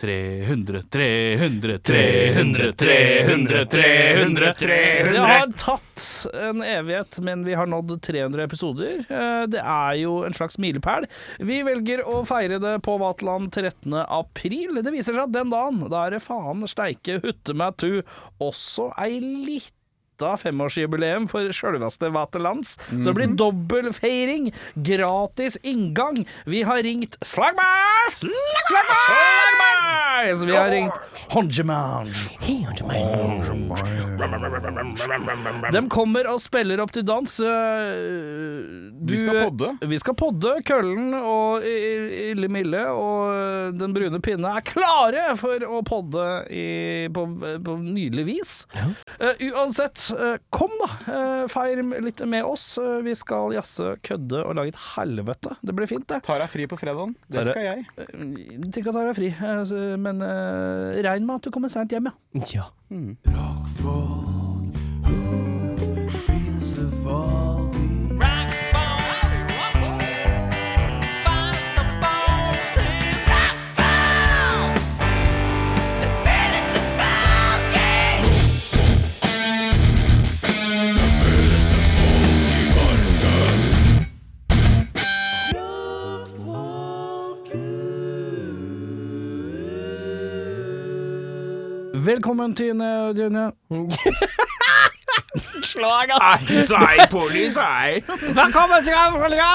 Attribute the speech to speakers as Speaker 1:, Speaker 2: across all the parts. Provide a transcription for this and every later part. Speaker 1: 300, 300, 300, 300, 300, 300
Speaker 2: Det har tatt en evighet, men vi har nådd 300 episoder. Eh, Det er jo en slags milepæl. Vi velger å feire det på Vaterland 13. april. Det viser seg at den dagen, da er det faen steike hutte meg tu, også ei lita femårsjubileum for sjølveste Vaterlands. Så det blir dobbel feiring, gratis inngang. Vi har ringt Slagmas! Slagmas! Slagmas! Vi har ringt Honjemange. De kommer og spiller opp til dans. øh, du-
Speaker 3: Vi skal podde.
Speaker 2: Vi skal podde. Køllen og I- I- Ille Mille og øh, Den brune pinne er klare for å podde i, på, på nydelig vis. Eh, uansett, eh, kom da. eh, feir litt med oss. Eh, vi skal jazze, kødde og lage et helvete. Det blir fint, det.
Speaker 3: Tar deg fri på fredagen. Det
Speaker 2: Tara-
Speaker 3: skal jeg.
Speaker 2: Eh, Tenk at jeg er fri, eh, så- men eh, regn med at du kommer seint hjem, ja.
Speaker 4: Ja.
Speaker 2: Velkommen til Tine. Tine.
Speaker 4: Slag, ass! Velkommen skal du ha!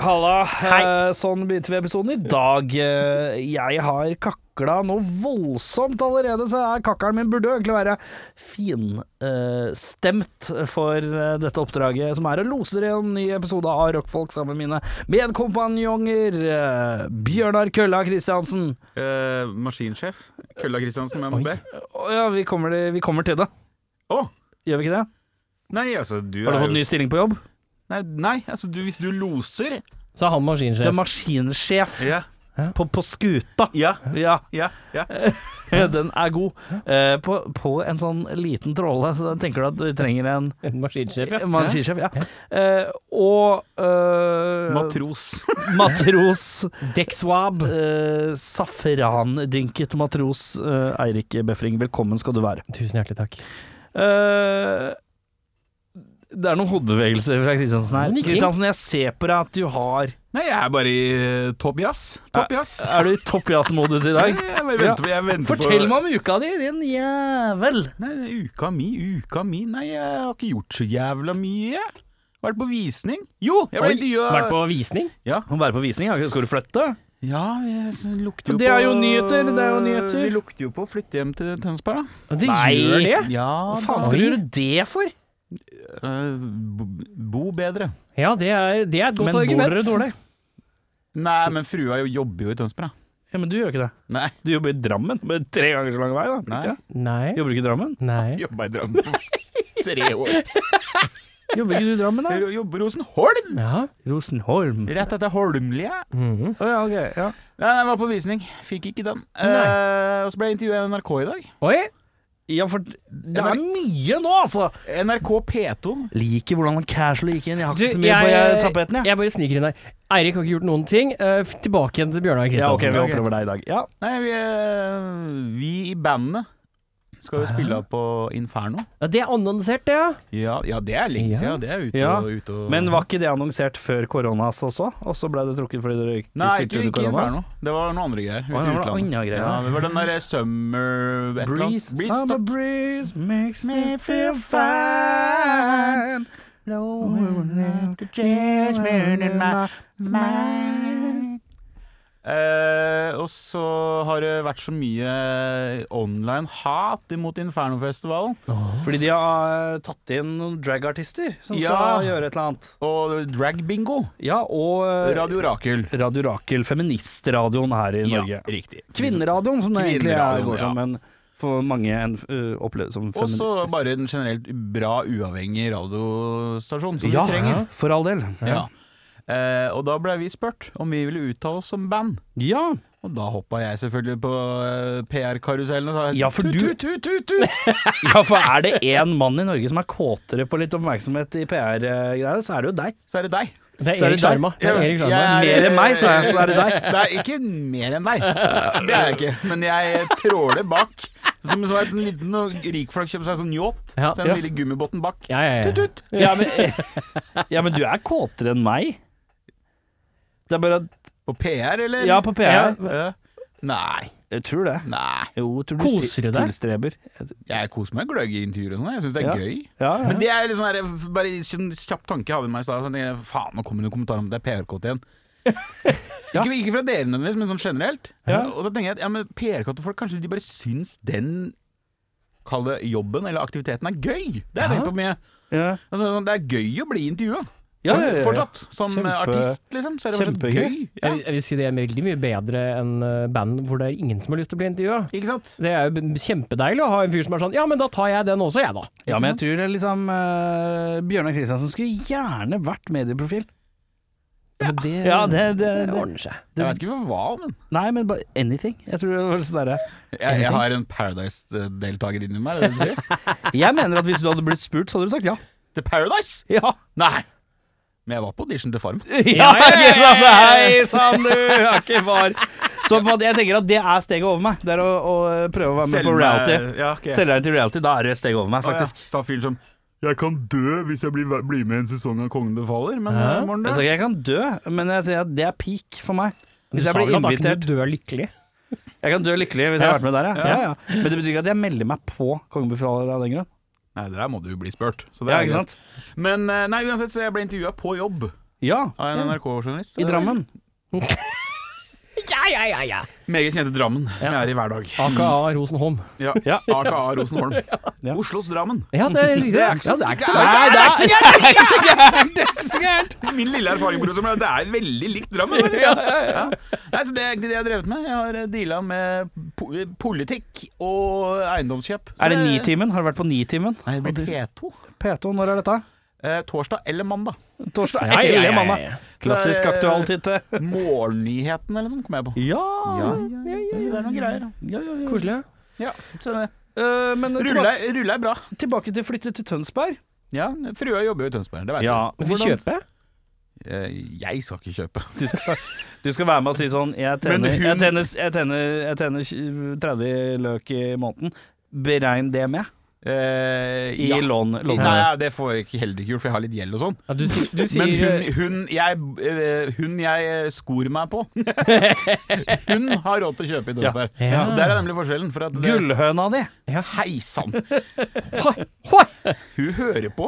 Speaker 2: Halla. Eh, sånn begynte vi episoden i dag. Eh, jeg har kakla noe voldsomt allerede, så jeg- kakkelen min burde jo egentlig være finstemt for eh, dette oppdraget, som er å lose dere gjennom en ny episode av Rockfolk sammen med mine medkompanjonger eh, Bjørnar Kølla Kristiansen.
Speaker 3: Eh, maskinsjef. Kølla Kristiansen med MB.
Speaker 2: Å ja, vi kommer, til- vi kommer til det.
Speaker 3: Å!
Speaker 2: Gjør vi ikke det?
Speaker 3: Nei, altså, du
Speaker 2: Har du
Speaker 3: er
Speaker 2: fått
Speaker 3: jo-
Speaker 2: ny stilling på jobb?
Speaker 3: Nei, nei altså, du, hvis du loser
Speaker 4: Så er han
Speaker 2: Du er
Speaker 4: maskinsjef.
Speaker 2: maskinsjef
Speaker 3: Ja.
Speaker 2: på, på skuta.
Speaker 3: Ja.
Speaker 2: Ja.
Speaker 3: Ja. ja.
Speaker 2: Eh, Den er god. Eh, på, på en sånn liten tråle, så da tenker du at du trenger en
Speaker 4: En maskinsjef, ja.
Speaker 2: maskinsjef. Ja. Eh, og eh,
Speaker 3: Matros.
Speaker 2: matros
Speaker 4: Dekswab.
Speaker 2: eh, Safrandynket matros eh, Eirik Befring, velkommen skal du være.
Speaker 4: Tusen hjertelig takk.
Speaker 2: Eh, det er noen hodebevegelser fra Kristiansen her.
Speaker 4: Noen nikking.
Speaker 2: Kristiansen, jeg ser på deg at du har
Speaker 3: Nei, jeg er bare i eh, topp jazz. Topp jazz.
Speaker 2: Er du i toppjazzmodus i
Speaker 3: Nei,
Speaker 2: dag?
Speaker 3: Jeg bare venter på, jeg venter
Speaker 2: Fortell
Speaker 3: på
Speaker 2: meg om uka di, din jævel!
Speaker 3: Nei, det er uka mi, uka mi Nei, jeg har ikke gjort så jævla mye. Vært på visning. Jo, jeg ble
Speaker 4: Oi, Vært
Speaker 3: intervjua
Speaker 4: på visning.
Speaker 2: Å være på visning, ja. skal du flytte?
Speaker 3: Ja, jeg s- lukter jo
Speaker 2: Det
Speaker 3: på
Speaker 2: er jo nyheter, det er jo nyheter.
Speaker 3: Vi lukter jo på å flytte hjem til Tønsberg, da.
Speaker 4: Det
Speaker 2: Nei.
Speaker 4: gjør det.
Speaker 3: Ja,
Speaker 2: Hva
Speaker 3: da.
Speaker 2: faen skal du gjøre det for?
Speaker 3: Eh, bo- bo bedre.
Speaker 4: Ja, det er, det er et godt
Speaker 2: Men
Speaker 4: argument.
Speaker 2: bor dere dårlig?
Speaker 3: Nei, men frua jo- jobber jo i Tønsberg, da.
Speaker 2: Ja, men du gjør ikke det.
Speaker 3: Nei.
Speaker 2: Du jobber i Drammen. Med tre ganger så lang vei, da.
Speaker 3: Nei.
Speaker 2: Ikke det?
Speaker 4: Nei.
Speaker 2: Jobber du ikke i Drammen?
Speaker 4: Nei.
Speaker 3: Jobba i Drammen. Tre år.
Speaker 2: Jobber ikke du i Drammen, da?
Speaker 3: Jeg jobber hos en Holm!
Speaker 4: Ja.
Speaker 2: Rosenholm.
Speaker 3: Rett etter Holmlia.
Speaker 4: Mhm.
Speaker 2: Å ja, ok. Ja.
Speaker 3: Nei, nei, jeg var på visning. Fikk ikke den.
Speaker 4: Nei.
Speaker 3: Eh, og så ble jeg intervjua i NRK i dag.
Speaker 4: Oi.
Speaker 2: ja, for det er mye nå, altså!
Speaker 3: NRK P2.
Speaker 2: Liker hvordan han casual gikk inn. Jeg har
Speaker 4: Du,
Speaker 2: ikke så mye
Speaker 4: jeg-
Speaker 2: på tapeten, jeg.
Speaker 4: Jeg bare sniker inn her. Eirik har ikke gjort noen ting. Eh, f- tilbake igjen til Bjørnar
Speaker 2: Ja, ok,
Speaker 4: Kristiansen.
Speaker 2: vi hopper over deg i dag. Ja.
Speaker 3: Nei, vi, eh, vi i bandet skal jo spille på Inferno.
Speaker 4: Ja, det er annonsert, det, ja.
Speaker 3: Ja, ja det er lenge
Speaker 4: Ja.
Speaker 3: siden. Det er ute
Speaker 2: Ja.
Speaker 3: og ute og
Speaker 2: Men var ikke det annonsert før koronas også? Og så ble det trukket fordi dere ikke
Speaker 3: Nei,
Speaker 2: spilte
Speaker 3: ikke,
Speaker 2: under
Speaker 3: ikke
Speaker 2: koronas?
Speaker 3: Inferno. altså? Det var noen andre greier.
Speaker 2: Å, det
Speaker 3: Ute i
Speaker 2: var noen
Speaker 3: utlandet.
Speaker 2: andre greier.
Speaker 3: Ja, det var den derre Summer et eller annet.
Speaker 2: Breeze,
Speaker 3: Breeze,
Speaker 2: summer
Speaker 3: da.
Speaker 2: breeze makes me feel fine. No one have to change me in my mind.
Speaker 3: Eh, og så har det vært så mye online hat imot Infernofestivalen.
Speaker 2: Fordi de har eh, tatt inn noen dragartister som
Speaker 3: Ja.
Speaker 2: skal gjøre et eller annet.
Speaker 3: Og dragbingo.
Speaker 2: Ja, og eh,
Speaker 3: Radio Rakel.
Speaker 2: Radio Rakel, feministradioen her i Norge.
Speaker 3: riktig.
Speaker 2: Kvinneradioen, som det egentlig er,
Speaker 3: Kvinneradioen,
Speaker 2: går
Speaker 3: ja.
Speaker 2: som, men for mange en, eh, oppleves som
Speaker 3: Og så
Speaker 2: feministisk.
Speaker 3: bare en generelt bra, uavhengig radiostasjon som
Speaker 2: ja,
Speaker 3: vi trenger.
Speaker 2: for all del.
Speaker 3: Ja. Eh, og da ble vi spurt om vi ville uttale oss som band.
Speaker 2: Ja,
Speaker 3: Og da hoppa jeg selvfølgelig på eh, PR-karusellen og sa
Speaker 2: Ja, for
Speaker 3: tut,
Speaker 2: du-
Speaker 3: tut, tut, tut, tut.
Speaker 2: ja, for er det én mann i Norge som er kåtere på litt oppmerksomhet i PR-greier, så er det jo deg.
Speaker 3: Så er det deg.
Speaker 4: Det
Speaker 2: Så er
Speaker 4: er
Speaker 2: det
Speaker 4: Erik Sjarma.
Speaker 2: deg.
Speaker 4: Det er Erik Sjarma.
Speaker 2: Mer enn meg, sa jeg, så er det deg.
Speaker 3: Det er ikke mer enn deg. Det er jeg ikke. Men jeg tråler bak. Som så en liten og rikfolk kjøper seg sånn yacht.
Speaker 4: Ja.
Speaker 3: Så en
Speaker 4: Ja.
Speaker 3: lille gummibåten bak.
Speaker 4: Ja, ja, ja.
Speaker 3: Tut-tut.
Speaker 2: Ja, men, ja, men du er kåtere enn meg. Det er bare at
Speaker 3: På PR, eller?
Speaker 2: Ja, på PR.
Speaker 3: Ja. Nei.
Speaker 2: Jeg tror det.
Speaker 3: Nei.
Speaker 2: Jo, jeg tror du
Speaker 4: Koser du deg?
Speaker 2: Tilstreber. Jeg-
Speaker 3: Jeg koser meg gløgg i intervjuer og sånn. Jeg syns det er
Speaker 2: Ja.
Speaker 3: gøy.
Speaker 2: Ja, ja.
Speaker 3: Men det er liksom der, bare en kjapp tanke jeg hadde med meg i stad. så tenkte jeg, Faen, nå kommer det en kommentar om det er PR-kåt igjen.
Speaker 2: Ja.
Speaker 3: ikke, ikke fra dere nødvendigvis, men sånn generelt.
Speaker 2: Ja.
Speaker 3: Og da tenker jeg at ja, men PR-kåte folk, kanskje de bare syns den Kall det jobben eller aktiviteten er gøy. Det
Speaker 2: Ja.
Speaker 3: har jeg tenkt på mye.
Speaker 2: ja.
Speaker 3: Altså, sånn, det er gøy å bli intervjua.
Speaker 2: Ja, ja, ja, ja.
Speaker 3: Fortsatt. Som eh,
Speaker 2: Kjempe-
Speaker 3: artist, liksom. Så er det fortsatt
Speaker 2: Kjempegøy.
Speaker 3: gøy. Ja.
Speaker 4: Jeg, vil- jeg vil si det er veldig mye bedre enn eh, band hvor det er ingen som har lyst til å bli intervjua.
Speaker 3: Ikke sant?
Speaker 4: Det er jo b- kjempedeilig å ha en fyr som er sånn Ja, men da tar jeg den også, jeg, da.
Speaker 2: ja, men jeg tror det er liksom eh, Bjørnar Kristiansen skulle gjerne vært medieprofil.
Speaker 4: Ja, men det,
Speaker 2: Ja, det- det- det-
Speaker 4: ordner seg.
Speaker 3: Jeg vet ikke for hva, men
Speaker 2: Nei, men bare anything. Jeg tror det var sånn derre
Speaker 3: jeg, jeg har en Paradise-deltaker inni meg. Er det det du sier?
Speaker 2: Jeg mener at hvis du hadde blitt spurt, så hadde du sagt ja.
Speaker 3: The Paradise?
Speaker 2: Ja,
Speaker 3: Nei! Men jeg var på audition til Farm.
Speaker 2: ja, ikke sant? Hei sann, du har ikke var Så på en måte, jeg tenker at det er steget over meg. Det er å, å prøve å være med på reality.
Speaker 3: eh, Ja, ok.
Speaker 2: Selge deg inn til reality, da er det et steg over meg, faktisk.
Speaker 3: Å, ja. Sa fyren som Jeg kan dø hvis jeg blir, blir med i en sesong av Kongen befaler, men
Speaker 4: Hæ?
Speaker 3: eh, morgen
Speaker 2: Jeg
Speaker 3: dø.
Speaker 2: sa ikke jeg kan dø, men jeg sier at det er peak for meg.
Speaker 4: Du
Speaker 2: Hvis
Speaker 4: sa
Speaker 2: jeg blir
Speaker 4: vel at da kunne
Speaker 2: invitert
Speaker 4: du dø lykkelig.
Speaker 2: Jeg kan dø lykkelig hvis jeg har vært med der, ja. ja, ja. Men det betyr ikke at jeg melder meg på Kongebefaler av den grunn.
Speaker 3: Nei, det der må du jo bli spurt. Så det
Speaker 2: Ja,
Speaker 3: er
Speaker 2: ikke
Speaker 3: greit.
Speaker 2: sant?
Speaker 3: Men eh, nei, uansett, så jeg ble intervjua på jobb
Speaker 2: Ja,
Speaker 3: av en NRK-journalist.
Speaker 2: i Drammen.
Speaker 4: Ja, ja, ja, ja.
Speaker 3: Meget kjente Drammen, som jeg er i hver dag.
Speaker 4: AKA Rosenholm.
Speaker 3: Ja.
Speaker 2: Ja.
Speaker 3: AKA Rosenholm.
Speaker 2: Ja.
Speaker 3: Oslos Drammen.
Speaker 4: Ja, det, det,
Speaker 3: Det
Speaker 4: ja,
Speaker 3: er ikke så-
Speaker 4: det er ikke så
Speaker 3: Nei,
Speaker 4: langt.
Speaker 3: det er ikke så gærent!
Speaker 2: Det er ikke så gærent! Det er ikke så gærent!
Speaker 3: Min lille erfaring, bror, som er- det er veldig likt Drammen. faktisk. Ja. Nei, så det er egentlig det jeg har drevet med. Jeg har eh, deala med po politikk og eiendomskjøp. Så
Speaker 2: Er det Nitimen? Har du vært på Nitimen?
Speaker 3: Nei, det blir P2.
Speaker 2: P2, når er dette?
Speaker 3: Eh, torsdag eller mandag.
Speaker 2: Torsdag?
Speaker 4: Ja, ja, ja, ja, ja.
Speaker 2: Klassisk
Speaker 3: Det er-
Speaker 2: aktualtitte.
Speaker 3: Morgennyheten eller sånn, kom jeg på.
Speaker 2: Ja.
Speaker 3: Ja, det er noen greier.
Speaker 2: Ja, ja, ja.
Speaker 4: Koselig.
Speaker 3: Ja, se det.
Speaker 2: Eh, men
Speaker 3: Rulle,
Speaker 2: tilbake,
Speaker 3: er- rulle er bra.
Speaker 2: tilbake til flytte til Tønsberg.
Speaker 3: Ja, Frua jobber jo i Tønsberg, det vet
Speaker 4: Men skal vi
Speaker 2: Hvordan-
Speaker 4: kjøpe?
Speaker 3: jeg. Eh, Jeg skal ikke kjøpe.
Speaker 2: Du skal, du skal være med og si sånn Jeg tjener,
Speaker 3: Men hun-
Speaker 2: jeg tjener, jeg tjener, jeg tjener 30 løk i måneden. Beregn det med
Speaker 3: Eh,
Speaker 2: i
Speaker 3: ja.
Speaker 2: lån. lån.
Speaker 3: Nei, ja, det får jeg ikke heller ikke gjort, for jeg har litt gjeld og sånn.
Speaker 4: Ja, du, sier- du sier
Speaker 3: Men hun, hun, jeg, eh, hun jeg skor meg på Hun har råd til å kjøpe i Tønsberg.
Speaker 4: Ja.
Speaker 3: Og Der er nemlig forskjellen. For at det-
Speaker 2: Gullhøna di!
Speaker 3: Hei sann!
Speaker 4: Hoi, hoi.
Speaker 3: Hun hører på.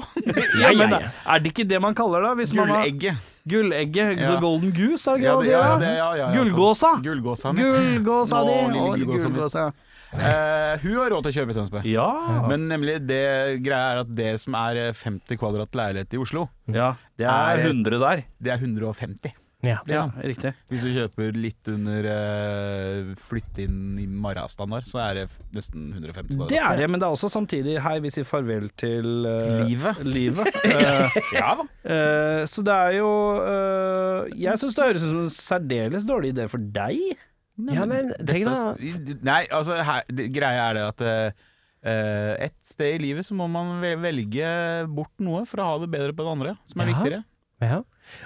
Speaker 2: Ja, men
Speaker 4: ja,
Speaker 2: da- Er det ikke det man kaller det? Hvis man har-
Speaker 3: Gullegget.
Speaker 2: Gullegget.
Speaker 3: Ja.
Speaker 2: The golden goose, er det ikke
Speaker 3: Ja,
Speaker 2: det man sier?
Speaker 3: det- ja,
Speaker 2: da?
Speaker 3: det- ja, ja, ja,
Speaker 2: Gullgåsa!
Speaker 3: Gullgåsa mi.
Speaker 2: Gullgåsa
Speaker 3: Nå,
Speaker 2: di!
Speaker 3: lille
Speaker 2: Å,
Speaker 3: gullgåsa mi.
Speaker 2: gullgåsa.
Speaker 3: Eh, hun har råd til å kjøpe i Tønsberg.
Speaker 2: Ja.
Speaker 3: Men nemlig det greia er at det som er eh, 50 kvadrat leilighet i Oslo,
Speaker 2: ja. Det er 100 der.
Speaker 3: det er 150.
Speaker 4: Ja.
Speaker 2: Ja, riktig.
Speaker 3: Hvis du kjøper litt under eh, flytt inn i Mara-standard, så er det f- nesten 150 kvadrat.
Speaker 2: Det er det, men det er også samtidig Hei, vi sier farvel til eh,
Speaker 3: Livet.
Speaker 2: livet. Eh,
Speaker 3: Ja da.
Speaker 2: Eh, så det er jo eh, Jeg syns det høres ut som en særdeles dårlig idé for deg.
Speaker 4: ja, men tenk da
Speaker 3: Dette- Nei, altså her, det, greia er det at eh, et sted i livet så må man ve- velge bort noe for å ha det bedre på det andre, som er
Speaker 4: Ja.
Speaker 3: viktigere.
Speaker 4: Ja.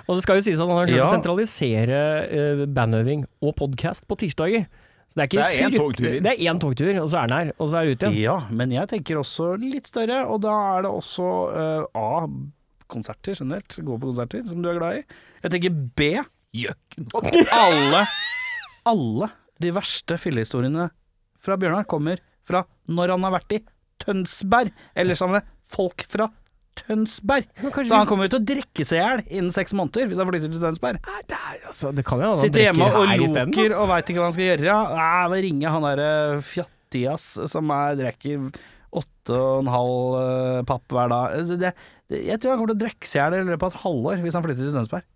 Speaker 4: Og det skal jo sies at han har klart
Speaker 2: Ja.
Speaker 4: å sentralisere eh, bandøving og podkast på tirsdager. Så det er ikke
Speaker 3: Det er én
Speaker 4: frykt-
Speaker 3: togtur inn.
Speaker 4: Det er én togtur, og så er han her, og så er han ute igjen.
Speaker 2: Ja, men jeg tenker også litt større, og da er det også eh, A. Konserter generelt. Gå på konserter, som du er glad i. Jeg tenker B.
Speaker 3: Gjøkken.
Speaker 2: Alle Alle de verste fyllehistoriene fra Bjørnar kommer fra når han har vært i Tønsberg, eller sammen med folk fra Tønsberg.
Speaker 4: Men kanskje
Speaker 2: Så han kommer jo til å drikke seg i hjel innen seks måneder hvis han flytter til Tønsberg.
Speaker 4: Nei, det, er, altså, det kan jo hende han
Speaker 2: Sitter hjemme
Speaker 4: drikker
Speaker 2: og
Speaker 4: her isteden. da.
Speaker 2: loker og veit ikke hva han skal gjøre. Nei, må ringe han derre fjattias som er, drikker åtte og en halv eh, papp hver dag. Altså, Det, det, jeg tror han kommer til å drikke seg i hjel i løpet av et halvår hvis han flytter til Tønsberg.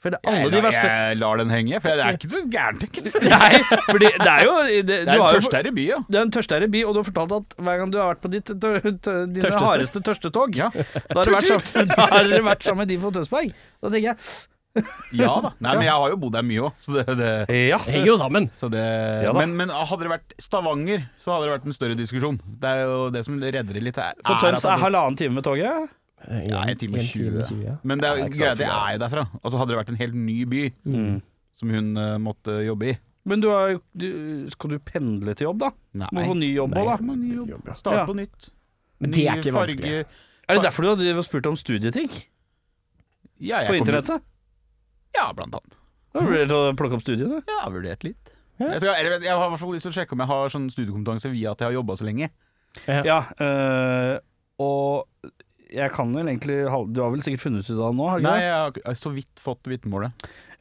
Speaker 2: For det er alle de
Speaker 3: jeg,
Speaker 2: verste
Speaker 3: jeg lar den henge, for det er ikke så gærent. tenker jeg.
Speaker 2: Nei, fordi det er jo Det, det
Speaker 3: Det er
Speaker 2: du
Speaker 3: en
Speaker 2: har jo-
Speaker 3: tørstere by, ja.
Speaker 2: det er en tørstere by, og du har fortalt at hver gang du har vært på ditt tø tø dine
Speaker 4: Tørsteste.
Speaker 2: hardeste tørstetog,
Speaker 3: Ja.
Speaker 2: da har du vært sammen, da har dere vært sammen med de fra Tønsberg. Da tenker
Speaker 3: Ja da. Nei, men jeg har jo bodd der mye òg, så det, det,
Speaker 2: jeg Ja.
Speaker 4: Henger jo sammen.
Speaker 3: så det
Speaker 2: Ja da.
Speaker 3: men, men hadde det vært Stavanger, så hadde det vært en større diskusjon. Det er jo det som redder det litt her. Ah,
Speaker 2: For Tøns
Speaker 3: at
Speaker 2: er
Speaker 3: det-
Speaker 2: halvannen time med toget.
Speaker 4: Eh,
Speaker 3: Ja,
Speaker 4: en-
Speaker 3: en time
Speaker 4: en
Speaker 3: og 20.
Speaker 4: ja.
Speaker 3: Men det er
Speaker 2: Ja,
Speaker 3: jo
Speaker 2: ikke sant,
Speaker 3: greit, jeg
Speaker 2: for
Speaker 3: er jo derfra. Altså Hadde det vært en helt ny by som hun eh, måtte jobbe i
Speaker 2: Men du har, jo- du, skal du pendle til jobb, da? Må få ny jobb
Speaker 4: Nei,
Speaker 2: òg,
Speaker 4: for-
Speaker 2: da.
Speaker 3: Må ny
Speaker 4: Jobb,
Speaker 3: jobb.
Speaker 4: ja.
Speaker 3: Start
Speaker 2: Ja.
Speaker 3: på nytt.
Speaker 4: Men det
Speaker 3: Ny
Speaker 4: er ikke vanskelig.
Speaker 3: farge.
Speaker 2: Er det derfor du har drevet og spurt om studieting
Speaker 3: Ja,
Speaker 2: på
Speaker 3: jeg kommer-
Speaker 2: internettet?
Speaker 3: Ja, blant annet.
Speaker 2: Da blir det til å plukke opp studiene.
Speaker 3: Jeg har vurdert litt.
Speaker 4: Ja.
Speaker 3: Jeg, skal, eller, jeg har i hvert fall lyst til å sjekke om jeg har sånn studiekompetanse via at jeg har jobba så lenge.
Speaker 4: Ja.
Speaker 2: Ja, øh, og jeg kan vel egentlig hal- Du har vel sikkert funnet ut av det nå? Har du
Speaker 3: Nei,
Speaker 2: ikke det?
Speaker 3: jeg har ikke- jeg har så vidt fått vitnemålet.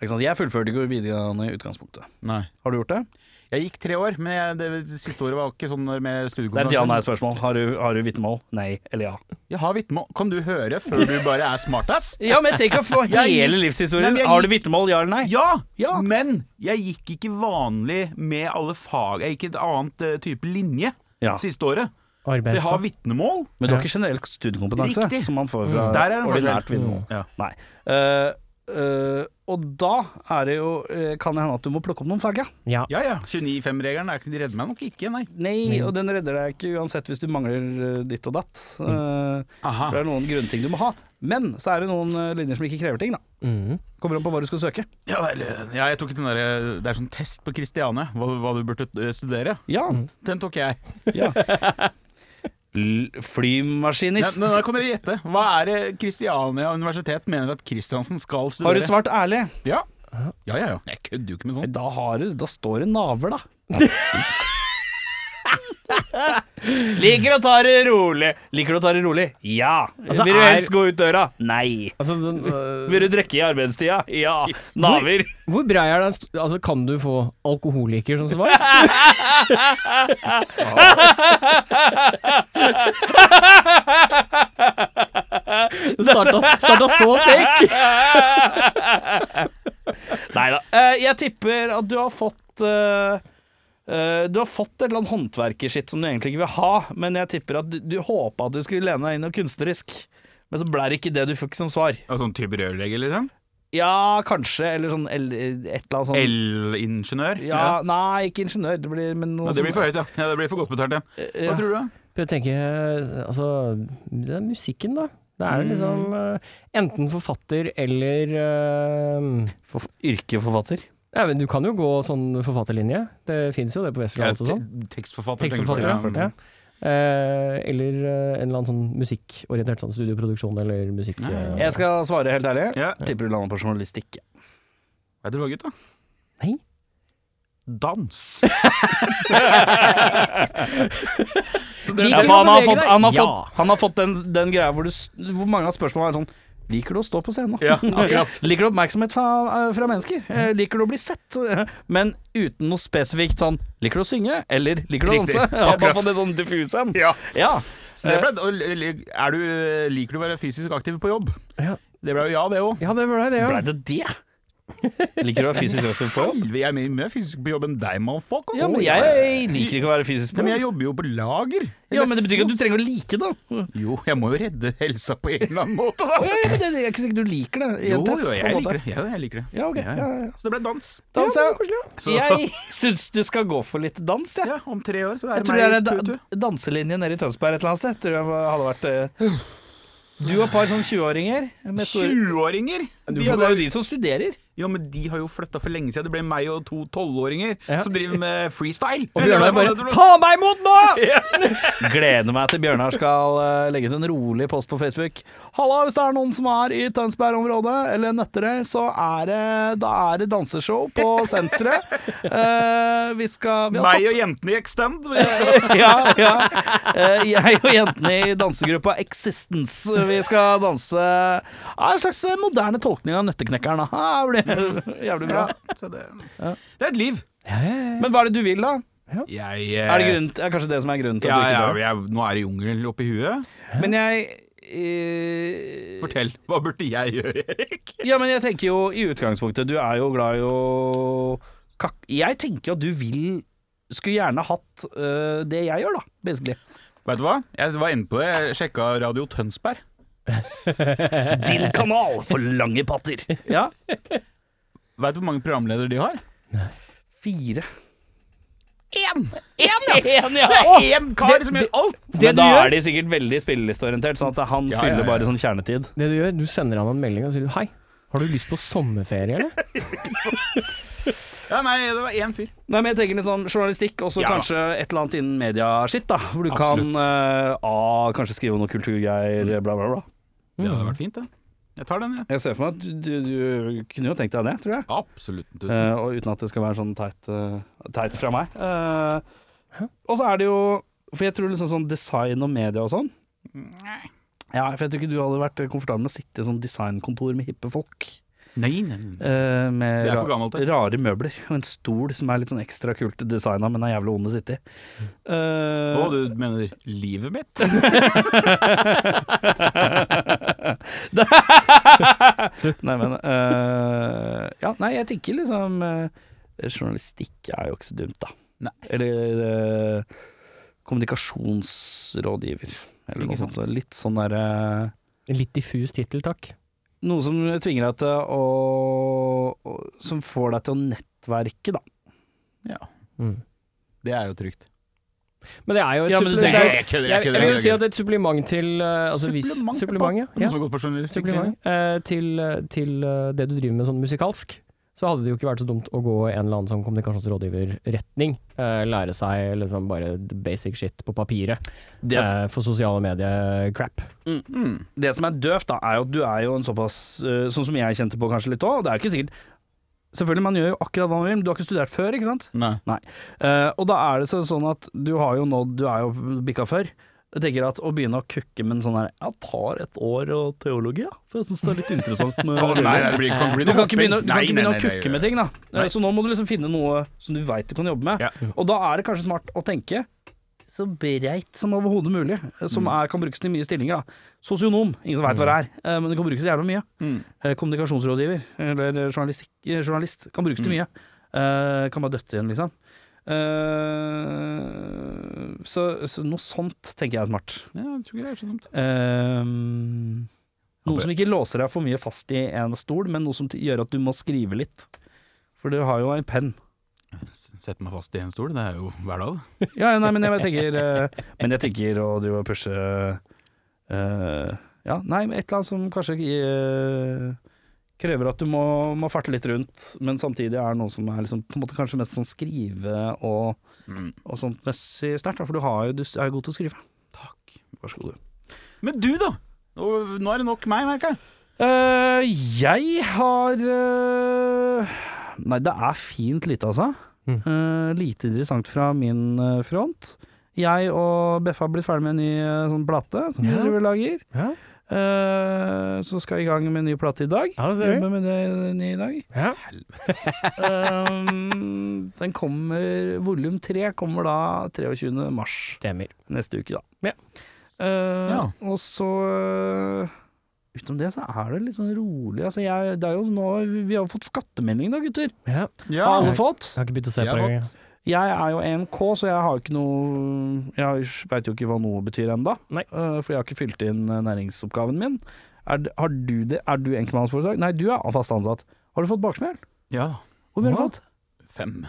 Speaker 2: Ikke sant? Jeg fullførte ikke videregående i utgangspunktet.
Speaker 3: Nei.
Speaker 2: Har du gjort det?
Speaker 3: Jeg gikk tre år, men jeg, det, siste året var ikke sånn med
Speaker 2: Det er et
Speaker 3: studiekompetanse.
Speaker 2: ja-nei-spørsmål. Har du, har du vitnemål? Nei eller ja?
Speaker 3: Jeg har vitnemål. Kan du høre før du bare er smartass?
Speaker 2: Ja, men tenk å få
Speaker 3: hele
Speaker 2: livshistorien.
Speaker 3: Har du
Speaker 2: vitnemål, ja eller nei?
Speaker 3: Ja,
Speaker 2: Ja.
Speaker 3: men jeg gikk ikke vanlig med alle fag. Jeg gikk et annet eh, type linje
Speaker 2: Ja.
Speaker 3: siste året. Så jeg har
Speaker 4: Arbeidsfag.
Speaker 3: vitnemål.
Speaker 2: Men du har ikke generell studiekompetanse,
Speaker 3: Riktig.
Speaker 2: som man får fra
Speaker 3: Mm. Der er det en
Speaker 2: ordinært
Speaker 3: forskjell. Mm.
Speaker 2: vitnemål.
Speaker 3: Ja.
Speaker 2: Nei. Eh, eh, og da er det jo eh, Kan det hende at du må plukke opp noen fag, ja.
Speaker 4: Ja.
Speaker 3: Ja ja, 29-5-regelen er ikke- de redder meg nok ikke, nei.
Speaker 2: Nei, og den redder deg ikke uansett hvis du mangler eh, ditt og datt.
Speaker 3: Mm.
Speaker 2: Eh, for
Speaker 3: Aha.
Speaker 2: det er noen grunnting du må ha. Men så er det noen eh, linjer som ikke krever ting, da.
Speaker 4: Mhm.
Speaker 2: Kommer an på hva du skal søke.
Speaker 3: Ja, eller, ja, jeg tok den der, det er sånn test på Kristiane, hva, hva du burde eh, studere.
Speaker 2: Ja.
Speaker 3: Den tok jeg.
Speaker 2: ja. L
Speaker 3: Ja,
Speaker 2: flymaskinist.
Speaker 3: nå nå kan dere gjette. Hva er det Kristiania universitet mener at Kristiansen skal studere?
Speaker 2: Har du svart ærlig?
Speaker 3: Ja. Ja, ja, ja. Jeg kødder jo ikke med sånt.
Speaker 2: Da, har du, da står det naver, da. Liker å ta det rolig. Liker du å ta det rolig? Ja.
Speaker 4: Altså,
Speaker 2: Vil du
Speaker 4: er-
Speaker 2: helst gå ut døra? Nei.
Speaker 4: Altså, den, øh,
Speaker 2: Vil du drikke i arbeidstida? Ja. Naver.
Speaker 4: hvor brei er den st- Altså, kan du få alkoholiker som svar? Det starta, starta så fake!
Speaker 2: Nei da. Eh, jeg tipper at du har fått eh, eh, du har fått et eller annet håndverkerskitt som du egentlig ikke vil ha, men jeg tipper at du, du håpa at du skulle lene deg inn noe kunstnerisk. Men så ble det ikke det du fikk som svar.
Speaker 3: Ja, sånn type rørlegger, liksom?
Speaker 2: Ja, kanskje, eller sånn el, et eller annet sånn
Speaker 3: Elingeniør?
Speaker 2: Ja, nei, ikke ingeniør. Det blir, men noe Eh,
Speaker 3: Ja, Det blir for høyt, ja. ja. Det blir for godt betalt, ja.
Speaker 2: høyt.
Speaker 3: Hva tror du, da?
Speaker 4: Prøv å tenke Altså, det er musikken, da. Det er jo liksom øh, enten forfatter eller øh,
Speaker 2: yrkeforfatter.
Speaker 4: ja, men Du kan jo gå sånn forfatterlinje. Det fins jo det på Westerdals og sånn.
Speaker 3: te- tekstforfatter.
Speaker 4: Tekstforfatter.
Speaker 3: tenker du
Speaker 4: for
Speaker 3: på,
Speaker 4: det. Eh, eller eh, en eller annen sånn musikkorientert sånn studioproduksjon eller musikk...
Speaker 3: Nei.
Speaker 4: eh,
Speaker 2: Jeg skal svare helt ærlig.
Speaker 3: Ja.
Speaker 2: Tipper du lander på journalistikk.
Speaker 3: Vet du hva, gutta?
Speaker 4: Nei.
Speaker 3: Dans.
Speaker 4: Liker
Speaker 2: Ja,
Speaker 4: du
Speaker 2: for han,
Speaker 4: å
Speaker 2: har
Speaker 4: bevege
Speaker 2: fått,
Speaker 4: deg?
Speaker 2: han, har
Speaker 4: Ja.
Speaker 2: fått, han har fått den, den greia hvor, du, s- hvor mange av spørsmålene er sånn Liker du å stå på scenen?
Speaker 3: Ja, akkurat.
Speaker 2: Liker du oppmerksomhet fra, fra mennesker? Eh, Liker du å bli sett? Men uten noe spesifikt sånn Liker du å synge? Eller liker du å
Speaker 3: Riktig.
Speaker 2: danse? Ja, bare
Speaker 3: Akkurat.
Speaker 2: fått det sånn diffus en.
Speaker 3: Ja.
Speaker 2: Ja.
Speaker 3: Så det ble, og li- er du, liker du å være fysisk aktiv på jobb?
Speaker 4: Ja.
Speaker 3: Det ble jo ja, det òg.
Speaker 4: Ja, det var det, det,
Speaker 2: Blei
Speaker 4: ja.
Speaker 2: det det? Liker du å være fysisk aktiv på jobb?
Speaker 3: Jeg er mye mer fysisk på jobb enn deg, motherfucker.
Speaker 2: Ja, men jeg liker ikke å være fysisk
Speaker 3: Ja,
Speaker 2: på
Speaker 3: Men jeg
Speaker 2: jobb.
Speaker 3: jobber jo på lager.
Speaker 2: Ja, men det betyr ikke at du trenger å like det.
Speaker 3: Jo, jeg må jo redde helsa på en eller annen måte, da.
Speaker 2: Å, ja, ja, men det, det er ikke sikkert du liker det i
Speaker 3: Jo,
Speaker 2: en test.
Speaker 3: jo,
Speaker 2: på en måte.
Speaker 3: jeg liker det. Ja, jeg liker det.
Speaker 2: Ja, ok. Ja, ja, ja.
Speaker 3: Så det ble dans.
Speaker 2: Da,
Speaker 4: Ja,
Speaker 2: så,
Speaker 4: så koselig, ja.
Speaker 3: Så-
Speaker 2: jeg syns du skal gå for litt dans, jeg.
Speaker 3: Ja, om tre år så er
Speaker 2: Jeg
Speaker 3: det
Speaker 2: tror det er
Speaker 3: meg
Speaker 2: da-
Speaker 3: tutu.
Speaker 2: danselinje nede i Tønsberg et eller annet sted. Tror jeg hadde vært eh, Du og et par sånn 20-åringer. med store-
Speaker 3: 20-åringer!
Speaker 2: De,
Speaker 3: De
Speaker 2: ja, det er
Speaker 3: har-
Speaker 2: jo de som studerer.
Speaker 3: Ja, men de har jo flytta for lenge siden. Det ble meg og to 12-åringer
Speaker 4: Ja.
Speaker 3: som driver med freestyle.
Speaker 4: Og Bjørnar bare
Speaker 3: Ta-
Speaker 4: Ta meg imot nå!
Speaker 2: Gleder meg til Bjørnar skal eh, legge ut en rolig post på Facebook. Halla, hvis det er noen som er i Tønsberg-området eller Nøtterøy, så er det, da er det danseshow på senteret. Eh, vi skal vi har
Speaker 3: Meg og jentene i Extend. Jeg skal-
Speaker 2: ja, ja. Eh, Jeg og jentene i dansegruppa Existence. Vi skal danse ja, en slags moderne tolkning av Nøtteknekkeren. Da. Ja, det blir jævlig bra.
Speaker 3: Ja, så det, det er et liv.
Speaker 2: Men hva er det du vil, da?
Speaker 3: Jeg, eh,
Speaker 2: Er det grunnen, er kanskje det som er grunnen til
Speaker 3: Ja,
Speaker 2: at du ikke
Speaker 3: ja,
Speaker 2: dør?
Speaker 3: jeg, nå er det jungel oppi huet.
Speaker 2: Men jeg eh,
Speaker 3: Fortell. Hva burde jeg gjøre, Erik?
Speaker 2: Ja, men jeg tenker jo i utgangspunktet Du er jo glad i å kak... Jeg tenker at du vil skulle gjerne hatt eh, det jeg gjør, da. Basically.
Speaker 3: Vet du hva? Jeg var inne på det. Jeg sjekka Radio Tønsberg.
Speaker 2: Din kanal for lange patter. Ja.
Speaker 3: Vet du hvor mange programledere de har?
Speaker 2: Fire.
Speaker 3: Én! Én! Én, ja!
Speaker 2: En, ja.
Speaker 3: Det er én kar
Speaker 4: Det-
Speaker 3: som
Speaker 4: det-
Speaker 3: gjør alt!
Speaker 4: Det
Speaker 2: Men
Speaker 4: du
Speaker 2: da
Speaker 4: gjør-
Speaker 2: er de sikkert veldig spillelisteorientert, sånn at han
Speaker 3: Ja, ja,
Speaker 2: fyller
Speaker 3: ja.
Speaker 2: bare sånn kjernetid.
Speaker 4: Det du gjør, du sender han en melding og sier du, hei, har du lyst på sommerferie, eller?
Speaker 3: Ja, nei, det var én fyr.
Speaker 2: Nei, men jeg tenker litt sånn journalistikk, og så
Speaker 3: Ja.
Speaker 2: kanskje et eller annet innen mediaskitt, da. Hvor du
Speaker 3: Absolutt.
Speaker 2: kan eh, A, kanskje skrive om noen kulturgreier, bla, bla, bla.
Speaker 3: Det hadde vært fint, det. Jeg tar den, jeg.
Speaker 2: Jeg ser for meg at du, du kunne jo tenkt deg det, tror jeg.
Speaker 3: Absolutt. Du.
Speaker 2: Eh, og uten at det skal være sånn teit, eh, teit fra meg. Eh, og så er det jo For jeg tror liksom sånn design og media og sånn ja, for jeg tror ikke du hadde vært komfortabel med å sitte i sånn designkontor med hippe folk.
Speaker 3: Nei, nei, nei.
Speaker 2: eh, med
Speaker 3: Det er for
Speaker 2: ra-
Speaker 3: gammelt, det.
Speaker 2: rare møbler og en stol som er litt sånn ekstra kult designa, men er jævlig vond å sitte i. Eh,
Speaker 3: Å, du mener livet mitt?
Speaker 2: Slutt. Nei, men eh, Ja, nei, jeg tenker liksom eh, Journalistikk er jo ikke så dumt, da.
Speaker 3: Nei.
Speaker 2: Eller eh, kommunikasjonsrådgiver, eller
Speaker 3: Ikke
Speaker 2: noe
Speaker 3: sant.
Speaker 2: sånt. Litt sånn derre
Speaker 4: Litt diffus titel, takk.
Speaker 2: Noe som tvinger deg til å å- Som får deg til å nettverke, da.
Speaker 3: Ja,
Speaker 4: Mm.
Speaker 3: det er jo trygt.
Speaker 4: Men det er jo et
Speaker 2: Ja, men
Speaker 4: supplement.
Speaker 2: det-
Speaker 4: det er-
Speaker 3: jeg kødder,
Speaker 4: Jeg, jeg vil si at det er et supplement til eh, altså, vis-
Speaker 3: Supplement,
Speaker 4: Supplement,
Speaker 3: Noen
Speaker 4: ja.
Speaker 3: som
Speaker 4: ja.
Speaker 3: har gått på journalistikk?
Speaker 4: Supplement. eh, til eh, til eh, det du driver med sånn musikalsk, så hadde det jo ikke vært så dumt å gå en eller annen sånn kommunikasjonsrådgiverretning. Eh, lære seg liksom bare basic shit på papiret.
Speaker 2: Det,
Speaker 4: eh, for sosiale eh, medier-crap.
Speaker 3: Mm.
Speaker 2: det som er døvt, da, er jo at du er jo en såpass eh, Sånn som jeg kjente på kanskje litt òg, det er jo ikke sikkert Selvfølgelig, man gjør jo akkurat hva man vil, men du har ikke studert før, ikke sant?
Speaker 3: Nei.
Speaker 2: Eh, og da er det så- sånn at du har jo nådd Du er jo bikka før. Jeg tenker at Å begynne å kukke med en sånn her Jeg tar et år og teologi, ja, for jeg syns det er litt interessant med
Speaker 3: Å, nei, nei, det blir, kan ikke bli
Speaker 2: Du
Speaker 3: noe
Speaker 2: kan ikke
Speaker 3: hopping.
Speaker 2: begynne, du kan ikke
Speaker 3: Nei, nei,
Speaker 2: begynne
Speaker 3: nei,
Speaker 2: å
Speaker 3: nei,
Speaker 2: kukke
Speaker 3: nei.
Speaker 2: med ting, da. Eh, Så nå må du liksom finne noe som du veit du kan jobbe med.
Speaker 3: Ja.
Speaker 2: Og da er det kanskje smart å tenke så breit som overhodet mulig, eh, som
Speaker 3: Mm.
Speaker 2: er, kan brukes til mye stillinger. da. Sosionom, ingen som veit hva det er, eh, men det kan brukes til jævla mye.
Speaker 3: Mm.
Speaker 2: Eh, Kommunikasjonsrådgiver eller journalistikk, eh, journalist kan brukes til mye. Eh, Kan bare døtte igjen, liksom. Eh, Så, så noe sånt tenker jeg er smart.
Speaker 3: Ja, jeg tror ikke det er så dumt.
Speaker 2: Ehm, noe som ikke låser deg for mye fast i en stol, men noe som t- gjør at du må skrive litt. For du har jo en penn.
Speaker 3: Sette meg fast i en stol, det er jo hver dag.
Speaker 2: Ja, ja, nei, men jeg bare tenker eh, Men jeg tenker å drive og pushe eh, Ja, nei, men et eller annet som kanskje eh, krever at du må, må farte litt rundt, men samtidig er det noe som er liksom, på en måte kanskje mest sånn skrive- og,
Speaker 3: Mm.
Speaker 2: og sånt messig sterkt. da, For du, har jo, du er jo god til å skrive.
Speaker 3: Takk.
Speaker 2: Vær så god, du.
Speaker 3: Men du, da? Og nå er det nok meg, merker jeg.
Speaker 2: Eh, jeg har eh, Nei, det er fint lite, altså.
Speaker 4: Mm.
Speaker 2: Eh, lite interessant fra min eh, front. Jeg og Beffa har blitt ferdig med en ny eh, sånn plate som vi
Speaker 4: Ja.
Speaker 2: driver og lager.
Speaker 4: Ja,
Speaker 2: Eh, så skal jeg i gang med en ny plate i dag.
Speaker 4: Ja, det ser vi.
Speaker 2: Jobber med det nye i dag.
Speaker 4: ja.
Speaker 2: Eh, den kommer Volum 3 kommer da 23. mars
Speaker 4: Stemmer.
Speaker 2: neste uke, da.
Speaker 4: Ja.
Speaker 2: Eh,
Speaker 3: Ja.
Speaker 2: Og så eh, Utenom det så er det litt sånn rolig. Altså jeg, det er jo nå, vi har jo fått skattemelding da, gutter.
Speaker 4: Ja.
Speaker 2: Har
Speaker 3: Ah,
Speaker 2: alle
Speaker 4: Nei.
Speaker 2: fått?
Speaker 4: Jeg har ikke begynt å se
Speaker 3: Jeg
Speaker 4: på det.
Speaker 3: har
Speaker 4: engang.
Speaker 2: Jeg er jo EMK, så jeg har jo ikke noe Jeg veit jo ikke hva noe betyr ennå.
Speaker 4: Nei.
Speaker 2: For jeg har ikke fylt inn eh, næringsoppgaven min. Er, d- har du det? Er du enkeltmannsforetak? Nei, du er fast ansatt. Har du fått baksmell?
Speaker 3: Ja.
Speaker 2: Hvor mye har du
Speaker 4: Hva?
Speaker 2: fått?
Speaker 3: Fem.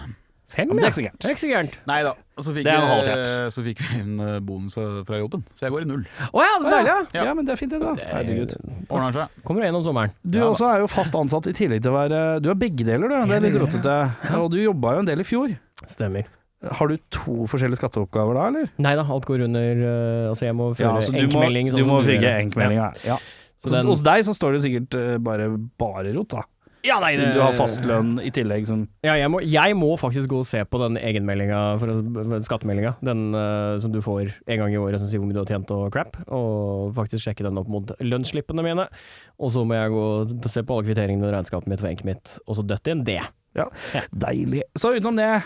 Speaker 4: Fem,
Speaker 2: Ja, men det
Speaker 4: ja.
Speaker 2: er ikke så gærent.
Speaker 4: Det er ikke så gærent.
Speaker 3: Nei da. Og så fikk,
Speaker 2: Det er en halv
Speaker 3: vi-
Speaker 2: fjert.
Speaker 3: så fikk vi en eh, bonus eh, fra jobben, så jeg går i null.
Speaker 4: Å ja, så deilig, ja.
Speaker 2: Ja.
Speaker 3: Ja.
Speaker 2: men det er fint, det, da. Herregud.
Speaker 3: Ordner seg.
Speaker 4: Eh, Kommer du gjennom sommeren?
Speaker 2: Du
Speaker 3: Ja da.
Speaker 2: også er jo fast ansatt i tillegg til å være Du er begge deler, du. Det er litt rotete. Og du jobba jo en del i fjor.
Speaker 4: Stemmer.
Speaker 2: Har du to forskjellige skatteoppgaver da, eller?
Speaker 4: Nei da, alt går under eh, Altså, jeg må føre enkmelding.
Speaker 2: du
Speaker 4: sånn som
Speaker 2: må
Speaker 4: gjør.
Speaker 2: fygge enkmeldinga. Ja.
Speaker 4: Så
Speaker 2: Så
Speaker 4: den-
Speaker 2: hos deg så står det sikkert eh, bare bare rot, da.
Speaker 4: Ja, nei, eh,
Speaker 2: Siden
Speaker 4: det-
Speaker 2: du har fast lønn i tillegg som
Speaker 4: Ja, jeg må, jeg må faktisk gå og se på den egenmeldinga, for å- den skattemeldinga. Den eh, som du får en gang i året som sier hvor mye du har tjent og crap. Og faktisk sjekke den opp mot lønnsslippene mine. Og så må jeg gå og se på alle kvitteringene og regnskapet mitt for enket mitt, og så døtte inn det.
Speaker 2: Ja, deilig. Så utenom det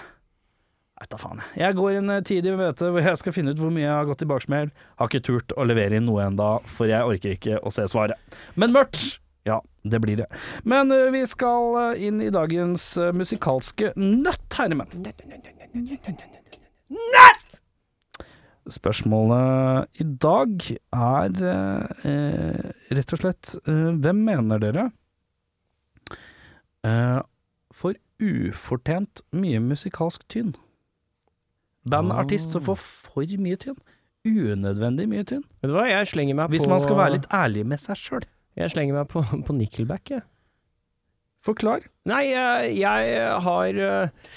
Speaker 2: Vet da faen. jeg. Jeg går en eh, tid i møte hvor jeg skal finne ut hvor mye jeg har gått i baksmell. Har ikke turt å levere inn noe enda, for jeg orker ikke å se svaret. Men mørkt! Ja, det blir det. Men eh, vi skal eh, inn i dagens eh, musikalske nøtt, herremenn. Spørsmålet i dag er eh, eh, rett og slett eh, Hvem mener dere eh, for ufortjent mye musikalsk tynn. Bandartist som får for mye tynn. Unødvendig mye tynn.
Speaker 4: Vet du hva, jeg slenger meg
Speaker 2: Hvis
Speaker 4: på
Speaker 2: man skal være litt ærlig med seg sjøl.
Speaker 4: Jeg slenger meg på, på Nickelback, jeg.
Speaker 2: Forklar.
Speaker 4: Nei, jeg, jeg har eh,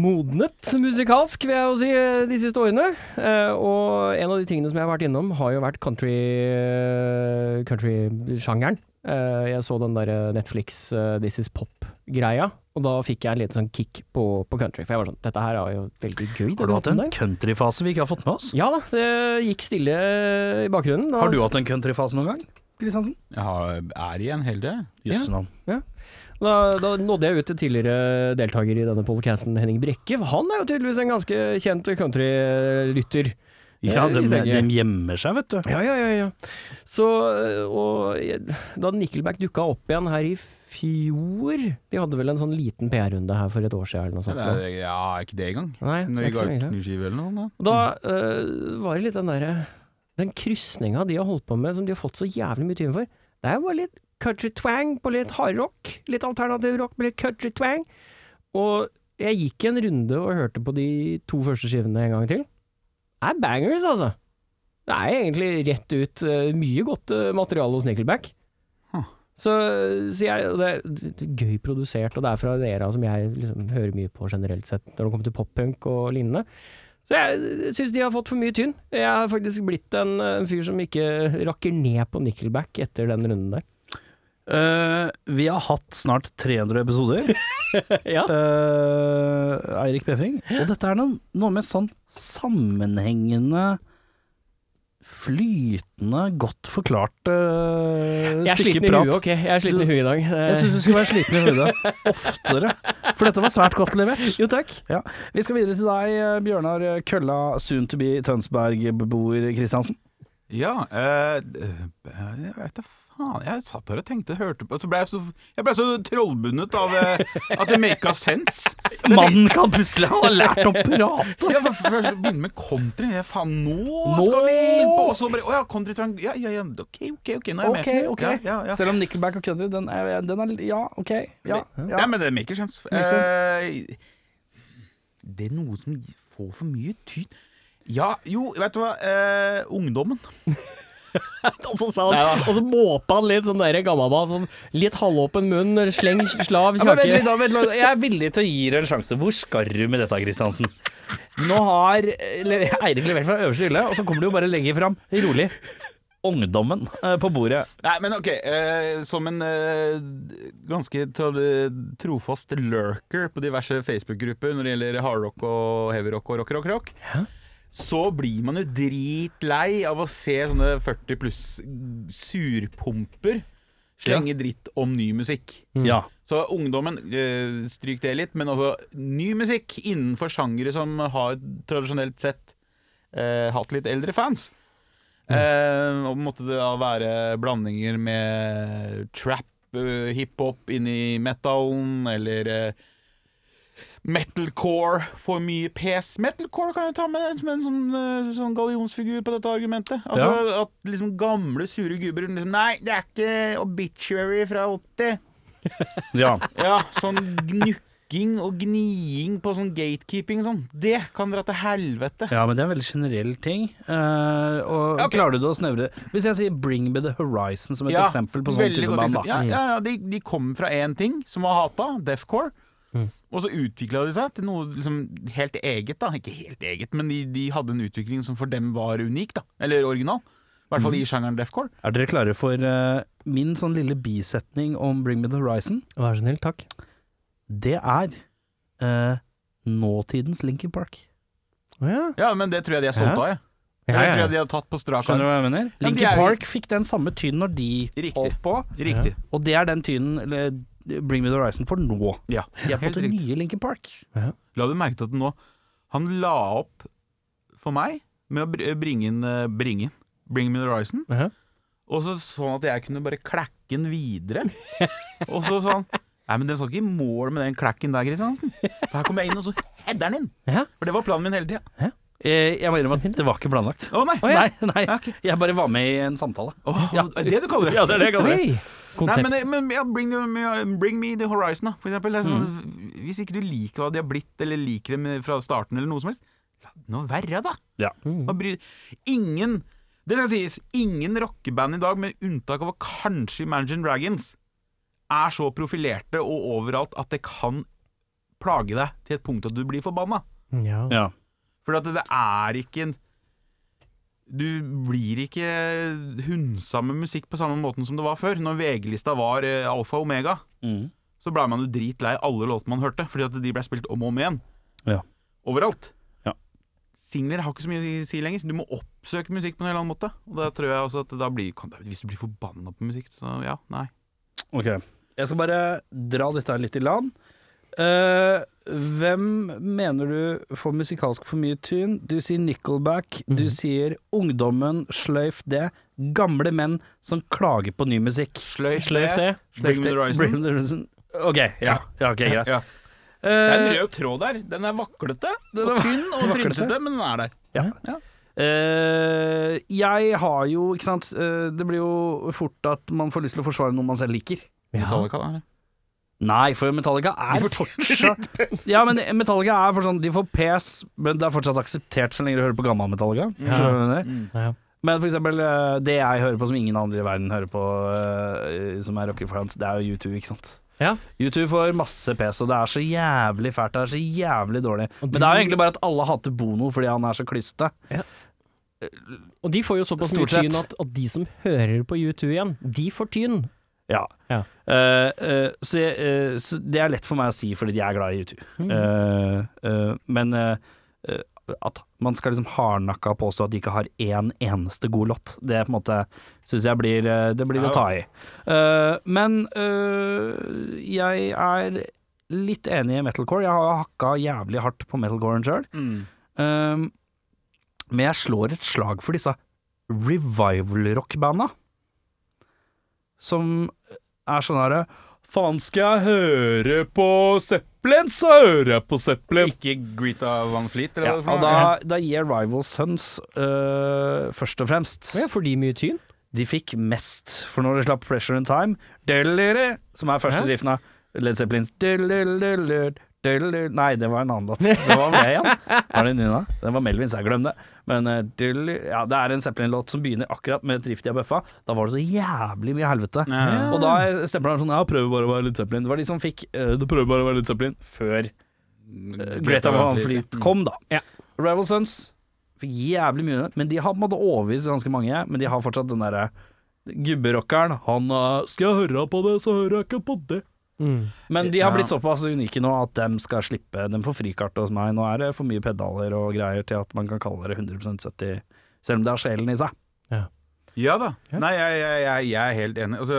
Speaker 4: modnet musikalsk, vil jeg jo si, eh, de siste årene. Eh, Og en av de tingene som jeg har vært innom, har jo vært country eh, country-sjangeren. Eh, jeg så den derre Netflix eh, This Is Pop-greia, og da fikk jeg en liten sånn kick på, på country. For jeg var sånn Dette her er jo veldig gøy.
Speaker 2: Har du hatt en countryfase vi ikke har fått med oss?
Speaker 4: Ja da, det gikk stille i bakgrunnen. Da-
Speaker 2: Har du hatt en countryfase noen gang? altså- Kristiansen?
Speaker 3: Jeg har, er i en hel del.
Speaker 2: Jøsse navn.
Speaker 4: Da, da nådde jeg ut til tidligere deltaker i denne podcasten, Henning Brekke. for Han er jo tydeligvis en ganske kjent countrylytter.
Speaker 2: Ja,
Speaker 4: Det
Speaker 2: de,
Speaker 4: visste jeg
Speaker 2: de
Speaker 4: ikke.
Speaker 2: gjemmer seg, vet du.
Speaker 4: Ja, ja, ja, ja. Så, og jeg- da Nickelback dukka opp igjen her i fjor De hadde vel en sånn liten PR-runde her for et år siden eller noe sånt.
Speaker 3: Ja, det er, ja, er ikke det engang.
Speaker 4: Nei,
Speaker 3: Når vi
Speaker 4: ikke så
Speaker 3: ga
Speaker 4: lenge siden.
Speaker 3: ut ny skive eller noe.
Speaker 4: Og da øh, var det litt den derre Den krysninga de har holdt på med, som de har fått så jævlig mye tyn for. Det er jo bare litt country twang på litt hardrock. Litt alternativ rock med litt country twang. Og jeg gikk en runde og hørte på de to første skivene en gang til. Det er bangers, altså. Det er egentlig rett ut øh, mye godt øh, materiale hos Nickelback.
Speaker 3: Huh.
Speaker 4: Så, så jeg, og det, er gøy produsert, og det er fra en era som jeg liksom hører mye på generelt sett, når det kommer til poppunk og lignende. Så jeg syns de har fått for mye tynn. Jeg har faktisk blitt en, en fyr som ikke rakker ned på Nickelback etter den runden der.
Speaker 2: Eh, vi har hatt snart 300 episoder,
Speaker 4: ja.
Speaker 2: eh, Eirik Befring. Og dette er noe, noe med sånn sammenhengende, flytende, godt forklarte uh,
Speaker 4: Jeg er sliten i huet, ok. Jeg er sliten i huet i dag. Eh,
Speaker 2: Jeg syns du skulle være sliten i hodet oftere, for dette var svært godt levert.
Speaker 4: jo, takk.
Speaker 2: Ja. Vi skal videre til deg, eh, Bjørnar Kølla, soon to be Tønsberg-beboer Kristiansen.
Speaker 3: Ja, eh, jeg vet da faen. Jeg satt der og tenkte og hørte på, så ble jeg så, jeg ble så trollbundet av eh, at det maka sense.
Speaker 2: Mannen kan plutselig ha lært å prate!
Speaker 3: Ja, for Først begynne med country. Ja, faen, nå,
Speaker 2: Nå!
Speaker 3: skal vi inn på! Og så bare Å ja, country trang ja, ja, ja, OK, OK, ok, nå er jeg med.
Speaker 2: Ok, ok.
Speaker 3: Ja, ja, ja.
Speaker 2: Selv om Nickelback og country, den er, den er Ja, OK. Ja,
Speaker 3: ja.
Speaker 2: ja.
Speaker 3: men det maker sense.
Speaker 2: Make
Speaker 3: Eh, det er noe som får for mye tyn. Ja, jo, vet du hva. Eh, ungdommen.
Speaker 4: Og så, sa han, og så måpa han litt sånn der gammalmann, sånn litt halvåpen munn, sleng, slav,
Speaker 2: Ja, men vent
Speaker 4: kjake.
Speaker 2: litt, da, vent litt. Jeg er villig til å gi deg en sjanse. Hvor skal du med dette, Kristiansen? Nå har eh, le- Eirik levert fra øverste hylle, og så kommer du jo bare legge fram, rolig, ungdommen eh, på bordet.
Speaker 3: Nei, men ok, eh, som en eh, ganske tro- trofast lurker på diverse Facebook-grupper når det gjelder hardrock og heavyrock og rock, rock, rock, så blir man jo dritlei av å se sånne 40 pluss surpumper slenge dritt om ny musikk.
Speaker 2: Ja.
Speaker 3: Så ungdommen, eh, stryk det litt, men altså ny musikk innenfor sjangere som har tradisjonelt sett eh, hatt litt eldre fans. Eh, og måtte det da være blandinger med trap, eh, hiphop inni metallen, eller eh, metalcore for mye pes. Metalcore kan jeg ta med som en sånn, eh, sånn gallionsfigur på dette argumentet. Altså at liksom gamle, sure gubber liksom, Nei, det er ikke obituary fra 80.
Speaker 2: ja.
Speaker 3: Ja, sånn gnukking og gniing på sånn gatekeeping og sånn. Det kan dra til helvete.
Speaker 2: Ja, men det er en veldig generell ting. Eh, og
Speaker 3: Ok.
Speaker 2: klarer du det å snevre Hvis jeg sier 'Bring me the horizon' som et
Speaker 3: Ja,
Speaker 2: eksempel på sånn
Speaker 3: veldig
Speaker 2: type
Speaker 3: godt
Speaker 2: band, da.
Speaker 3: eksempel. Ja, ja, ja de, de kom fra én ting som var hata, deathcore.
Speaker 2: Mm.
Speaker 3: Og så utvikla de seg til noe liksom helt eget, da. Ikke helt eget, men de, de hadde en utvikling som for dem var unik, da. Eller original. I hvert fall
Speaker 2: Mm.
Speaker 3: i sjangeren deathcore.
Speaker 2: Er dere klare for eh, min sånn lille bisetning om 'Bring me the horizon'?
Speaker 4: Vær så snill, takk.
Speaker 2: Det er eh, nåtidens Linkin Park.
Speaker 4: Å ja.
Speaker 3: Ja, men det tror jeg de er stolte
Speaker 4: Ja.
Speaker 3: av, jeg. Det
Speaker 4: Ja, ja.
Speaker 3: tror jeg de har tatt på strak
Speaker 2: Skjønner du
Speaker 3: arm.
Speaker 2: hva jeg mener?
Speaker 3: Ja,
Speaker 2: Linkin
Speaker 3: de er-
Speaker 2: Park fikk den samme tynen når de
Speaker 3: Riktig.
Speaker 2: holdt på,
Speaker 3: Riktig.
Speaker 2: og det er den tynen eller, 'Bring me the horizon' for nå.
Speaker 3: Ja.
Speaker 2: De er på en
Speaker 3: Helt
Speaker 2: måte
Speaker 3: riktig.
Speaker 2: nye Linkin Park.
Speaker 3: La du merke til at nå Han la opp for meg med å br- bringe inn eh, Bringe inn Bring Me The Horizon.
Speaker 4: Ja.
Speaker 3: Og så sånn at jeg kunne bare klakke den videre. og så sånn Nei, men den skal ikke i mål med den klakken der, Kristiansen. For her kommer jeg inn, og så header den inn.
Speaker 4: Ja.
Speaker 3: For det var planen min hele tida.
Speaker 2: Eh, jeg må innrømme at det var ikke planlagt.
Speaker 3: Å nei!
Speaker 2: Nei, nei.
Speaker 3: Ja, ok.
Speaker 2: Jeg bare var med i en samtale.
Speaker 3: Å, er det du kaller det?
Speaker 2: det er det jeg
Speaker 4: Hei!
Speaker 3: Nei,
Speaker 4: Konsept.
Speaker 3: men, men ja, bring, me, bring me the horizon, da, for eksempel. Det er sånn, Hvis ikke du liker hva de har blitt, eller liker dem fra starten, eller noe som helst, La det nå være, da!
Speaker 1: Ja.
Speaker 3: Hva bryr Ingen Det skal sies, ingen rockeband i dag, med unntak av kanskje Imagine Dragons, er så profilerte og overalt at det kan plage deg til et punkt at du blir forbanna.
Speaker 4: Ja.
Speaker 1: Ja.
Speaker 3: For at det er ikke en Du blir ikke hundsa med musikk på samme måten som det var før. Når VG-lista var eh, alfa og omega,
Speaker 1: Mm.
Speaker 3: så blei man jo dritlei alle låtene man hørte, fordi at de blei spilt om og om igjen.
Speaker 1: Ja.
Speaker 3: Overalt.
Speaker 1: Ja.
Speaker 3: Singler har ikke så mye å si lenger. Du må oppsøke musikk på en eller annen måte. Og da tror jeg også at da blir, kan, Hvis du blir forbanna på musikk, så ja, nei.
Speaker 1: Ok.
Speaker 2: Jeg skal bare dra dette her litt i land. Eh, hvem mener du får musikalsk for mye tyn? Du sier Nickelback, du sier ungdommen, sløyf det. Gamle menn som klager på ny musikk.
Speaker 3: Sløyf,
Speaker 4: Sløyf det.
Speaker 3: Bring Me The
Speaker 2: Bring
Speaker 3: Horizon.
Speaker 2: me the horizon. OK, ja. ja ok, greit. Eh,
Speaker 3: Ja. Det er en rød tråd der. Den er vaklete
Speaker 2: Den er
Speaker 3: og tynn og
Speaker 2: vaklete.
Speaker 3: frynsete, men den er der.
Speaker 2: Eh, jeg har jo, ikke sant eh, Det blir jo fort at man får lyst til å forsvare noe man selv liker.
Speaker 4: Ja.
Speaker 3: Metallica, da.
Speaker 2: Nei, for Metallica er fortsatt Ja, men Metallica er for sånn De får pes, men det er fortsatt akseptert så lenge du hører på gammel Metallica.
Speaker 4: Ja.
Speaker 2: Skjønner du hva jeg mener?
Speaker 3: Mm.
Speaker 4: Ja.
Speaker 2: Men for eksempel eh, det jeg hører på som ingen andre i verden hører på, eh, som er rockefans, det er jo U2, ikke sant.
Speaker 4: Ja.
Speaker 2: U2 får masse pes, og det er så jævlig fælt. Det er så jævlig dårlig.
Speaker 4: Og
Speaker 2: Men
Speaker 4: du-
Speaker 2: det er jo egentlig bare at alle hater Bono fordi han er så klysete.
Speaker 4: Og de får jo såpass mye
Speaker 2: Stort sett.
Speaker 4: tyn at, at de som hører på U2 igjen, de får tyn.
Speaker 2: Ja.
Speaker 4: Ja.
Speaker 2: Eh, eh, så, jeg, eh, så det er lett for meg å si fordi jeg er glad i U2. Eh, eh, men eh, eh, at man skal liksom hardnakka påstå at de ikke har én eneste god låt, det er på en måte syns jeg blir eh, Det blir å ta i. Eh, men eh, jeg er litt enig i metalcore. Jeg har hakka jævlig hardt på metalcoren sjøl.
Speaker 3: Mm.
Speaker 2: Eh, men jeg slår et slag for disse revival-rockbanda. Som er sånn herre Faen, skal jeg høre på Zeppelin, så hører jeg på Zeppelin.
Speaker 3: Ikke Greta Van Fleet, eller
Speaker 2: Ja,
Speaker 3: hva det er for
Speaker 2: og da,
Speaker 3: noe?
Speaker 2: da gir Rival Sons øh, først og fremst
Speaker 4: Ja, får de mye tyn?
Speaker 2: De fikk mest, for når de slapp Pressure in Time, delere, som er første
Speaker 4: Hæ?
Speaker 2: riffen av Led Zeppelins delelelelel, delelel- Nei, det var en annen låt. Det var det igjen. Var det Nina? Det var Melvins, jeg glemte det. Men eh, dele- ja, det er en Zeppelin-låt som begynner akkurat med et riff de har bøffa. Da var det så jævlig mye helvete.
Speaker 3: Ja.
Speaker 2: Og da er stempleren sånn Ja, prøver bare å være Led Zeppelin. Det var de som fikk eh, Du prøver bare å være Led Zeppelin før eh, Greta Van Fleet
Speaker 3: Mm.
Speaker 2: kom, da.
Speaker 4: Ja.
Speaker 2: Rival Sons fikk jævlig mye, men de har på en måte overbevist ganske mange. Men de har fortsatt den derre gubberockeren. Han eh, 'Skal jeg høre på det, så hører jeg ikke på det'. Men de har
Speaker 3: Ja.
Speaker 2: blitt såpass unike nå at de skal slippe De får frikart hos meg. Nå er det for mye pedaler og greier til at man kan kalle det 100 70, selv om det har sjelen i seg.
Speaker 3: Ja da.
Speaker 4: Ja.
Speaker 3: Nei, jeg, jeg, jeg, jeg er helt enig. Altså,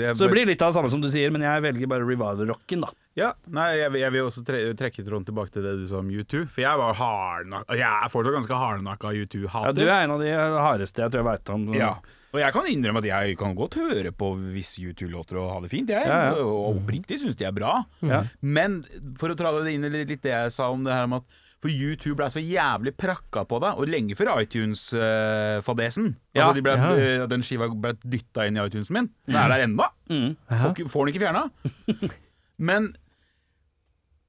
Speaker 3: jeg,
Speaker 2: Så det blir litt av det samme som du sier, men jeg velger bare revival-rocken, da.
Speaker 3: ja, nei, jeg, jeg vil også tre trekke tråden tilbake til det du sa om U2. For jeg var hardnakka Jeg er fortsatt ganske
Speaker 2: Ja,
Speaker 3: hardnakka
Speaker 2: du
Speaker 3: U2-hater.
Speaker 2: er en av de hardeste jeg tror jeg veit om.
Speaker 3: Ja. Og jeg kan innrømme at jeg kan godt høre på visse U2-låter og ha det fint, jeg.
Speaker 2: Ja, ja.
Speaker 3: Og oppriktig syns de er bra.
Speaker 2: Ja.
Speaker 3: Men for å tra det inn i litt det jeg sa om det her om at for U2 ble så jævlig prakka på deg, og lenge før iTunes-fadesen.
Speaker 2: Ja.
Speaker 3: altså de ble,
Speaker 4: Ja.
Speaker 3: eh, Den skiva ble dytta inn i iTunes min. Den er der ennå.
Speaker 2: Mm.
Speaker 4: Ja.
Speaker 3: Får ikke- Får den ikke fjerna. Men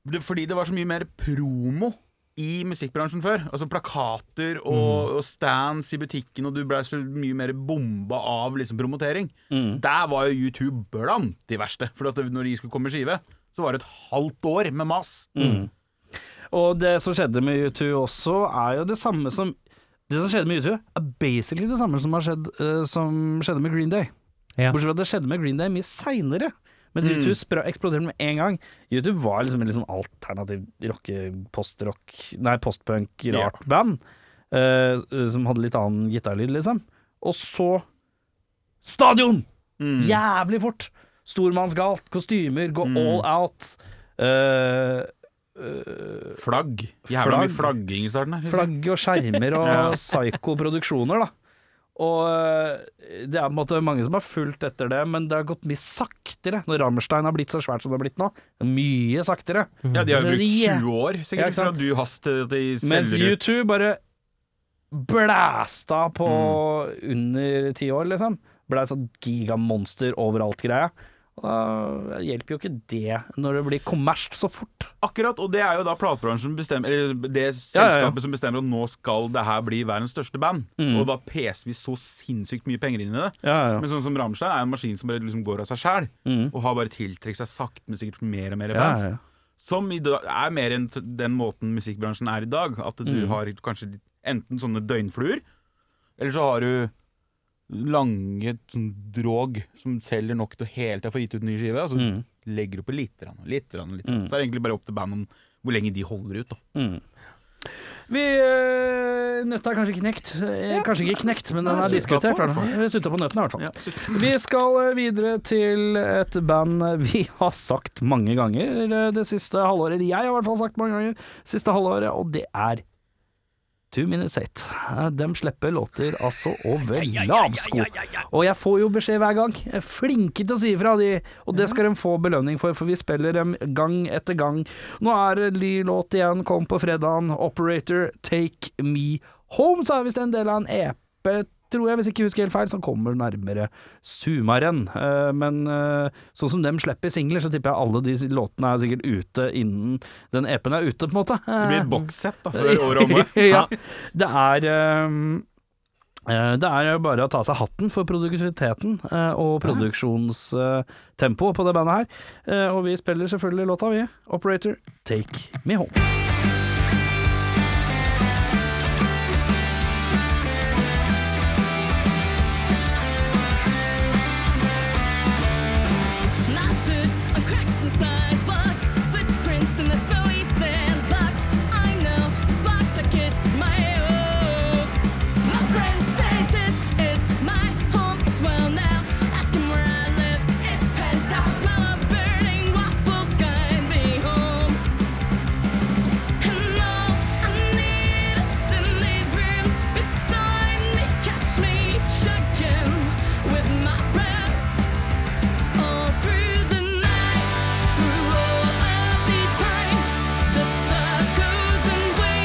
Speaker 3: det, fordi det var så mye mer promo i musikkbransjen før. Altså plakater
Speaker 2: Mm.
Speaker 3: og, og stands i butikken, og du ble så mye mer bomba av liksom promotering.
Speaker 2: Mm.
Speaker 3: Der var jo U2 blant de verste. For at det, når de skulle komme med skive, så var det et halvt år med mas.
Speaker 2: Mm. Og det som skjedde med U2 også, er jo det samme som Det som skjedde med U2, er basically det samme som, har skjedd, eh, som skjedde med Green Day.
Speaker 4: Ja.
Speaker 2: Bortsett fra at det skjedde med Green Day mye seinere. Mens U2 spra- eksploderte med en gang. U2 var liksom en litt sånn alternativ rocke, postrock Nei, postpunk,
Speaker 3: Ja.
Speaker 2: rart band. eh, som hadde litt annen gitarlyd, liksom. Og så Stadion! Jævlig fort! Stormannsgalt, kostymer, gå all out. Eh,
Speaker 3: Flagg.
Speaker 2: Flagg.
Speaker 3: Jævla mye flagging i starten her.
Speaker 2: flagg og skjermer og psyko-produksjoner, da. Og eh, det er på en måte mange som har fulgt etter det, men det har gått mye saktere når Rammstein har blitt så svært som det har blitt nå. Mye saktere.
Speaker 3: Ja, de har
Speaker 2: Så
Speaker 3: jo brukt
Speaker 2: de-
Speaker 3: 20 år
Speaker 2: Ja,
Speaker 3: sikkert
Speaker 2: ikke
Speaker 3: for
Speaker 2: sant?
Speaker 3: at du haster at de
Speaker 2: Mens
Speaker 3: selger ut.
Speaker 2: U2 bare blæsta på under ti år, liksom. Blei sånn gigamonster overalt-greie. Og da hjelper jo ikke det når det blir kommersielt så fort.
Speaker 3: Akkurat, og det er jo da platebransjen bestemmer Eller det
Speaker 2: Ja, ja,
Speaker 3: selskapet
Speaker 2: ja.
Speaker 3: som bestemmer at nå skal det her bli verdens største band.
Speaker 2: Mm.
Speaker 3: Og da peser vi så sinnssykt mye penger inn i det. Men sånn som Rammstein er en maskin som bare liksom går av seg sjæl, og har bare tiltrukket seg sakte, men sikkert mer og mer fans.
Speaker 2: Mm. ja.
Speaker 3: Som i dag er mer enn t- den måten musikkbransjen er i dag. At du
Speaker 2: Mm.
Speaker 3: har kanskje enten sånne døgnfluer, eller så har du lange sånn drog som selger nok til å hele tida få gitt ut ny skive. altså Og så
Speaker 2: Mm.
Speaker 3: legger du på litt, grann, litt, grann, litt. grann. Så er det egentlig bare opp til bandet om hvor lenge de holder ut. da
Speaker 2: Vi øh, Nøtta er kanskje knekt. Eh, Kanskje ikke knekt, men den
Speaker 3: Nei,
Speaker 2: er
Speaker 3: sutta på,
Speaker 2: diskutert. i hvert
Speaker 3: i hvert
Speaker 2: fall. Vi Sutta på nøttene, i hvert fall.
Speaker 3: Ja,
Speaker 2: Vi skal eh, videre til et band vi har sagt mange ganger eh, det siste halvåret. eller Jeg har i hvert fall sagt mange ganger siste halvåret, og det er Two Minutes Eight. Eh, Dem slipper låter altså over lavsko. Og jeg får jo beskjed hver gang. Jeg er Flinke til å si ifra, de. Og det skal de få belønning for, for vi spiller dem gang etter gang. Nå er det ny låt igjen, kom på fredagen. Operator, Take Me Home, så er visst en del av en EP, tror jeg, hvis ikke jeg husker helt feil, som kommer nærmere Sumaren. Eh, Men eh, sånn som dem slipper singler, så tipper jeg alle de låtene er sikkert ute innen den EP-en er ute, på en måte.
Speaker 3: Det blir et bokssett da, før året er omme.
Speaker 2: ja. Det er ehm, eh, det er jo bare å ta seg hatten for produktiviteten eh, og produksjonstempoet på det bandet her. Eh, Og vi spiller selvfølgelig låta, vi. Operator, take me home.
Speaker 5: Burning waffles guide me home. And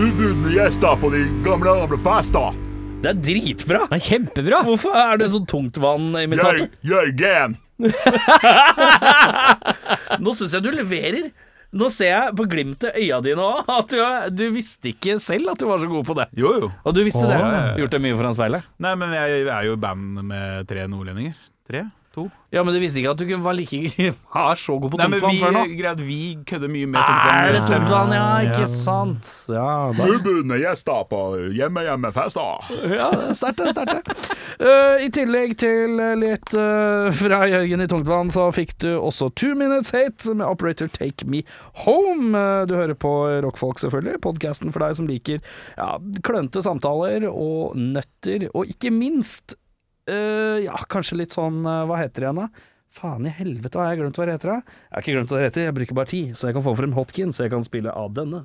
Speaker 5: ubudne gjester på de gamle, gamle festa.
Speaker 2: Det er dritbra!
Speaker 4: Det er kjempebra!
Speaker 2: Hvorfor er det sånn tungtvannimitator?
Speaker 5: Jør- Jørgen.
Speaker 2: Nå syns jeg du leverer. Nå ser jeg på glimtet i øya dine òg at du, du visste ikke selv at du var så god på det.
Speaker 3: Jo, jo.
Speaker 2: Og du visste det.
Speaker 3: Åh.
Speaker 2: Gjort det mye foran speilet.
Speaker 3: Nei, men jeg er jo i band med tre nordlendinger. Tre? To?
Speaker 2: Ja, men du visste ikke at du kunne være like var så god på
Speaker 3: Nei, men
Speaker 2: tungtvann
Speaker 3: vi,
Speaker 2: før nå.
Speaker 3: greit, vi kødder mye med
Speaker 2: Er det
Speaker 3: tungtvann.
Speaker 2: tungtvann? Ja, ikke sant. Ja, da
Speaker 5: Ubudne gjester på hjemme-hjemmefesta.
Speaker 2: Ja, det er sterkt, det er sterkt. det. Eh, I tillegg til eh, litt eh, fra Jørgen i Tungtvann, så fikk du også Two Minutes Hate med Operator Take Me Home. Eh, Du hører på Rockfolk, selvfølgelig. Podkasten for deg som liker ja, klønete samtaler og nøtter, og ikke minst eh, Ja, kanskje litt sånn eh, Hva heter det igjen, da? Faen i helvete, har jeg glemt hva det heter? da? Jeg har ikke glemt hva det heter, jeg bruker bare ti, så jeg kan få frem hotkey, så jeg kan spille av denne.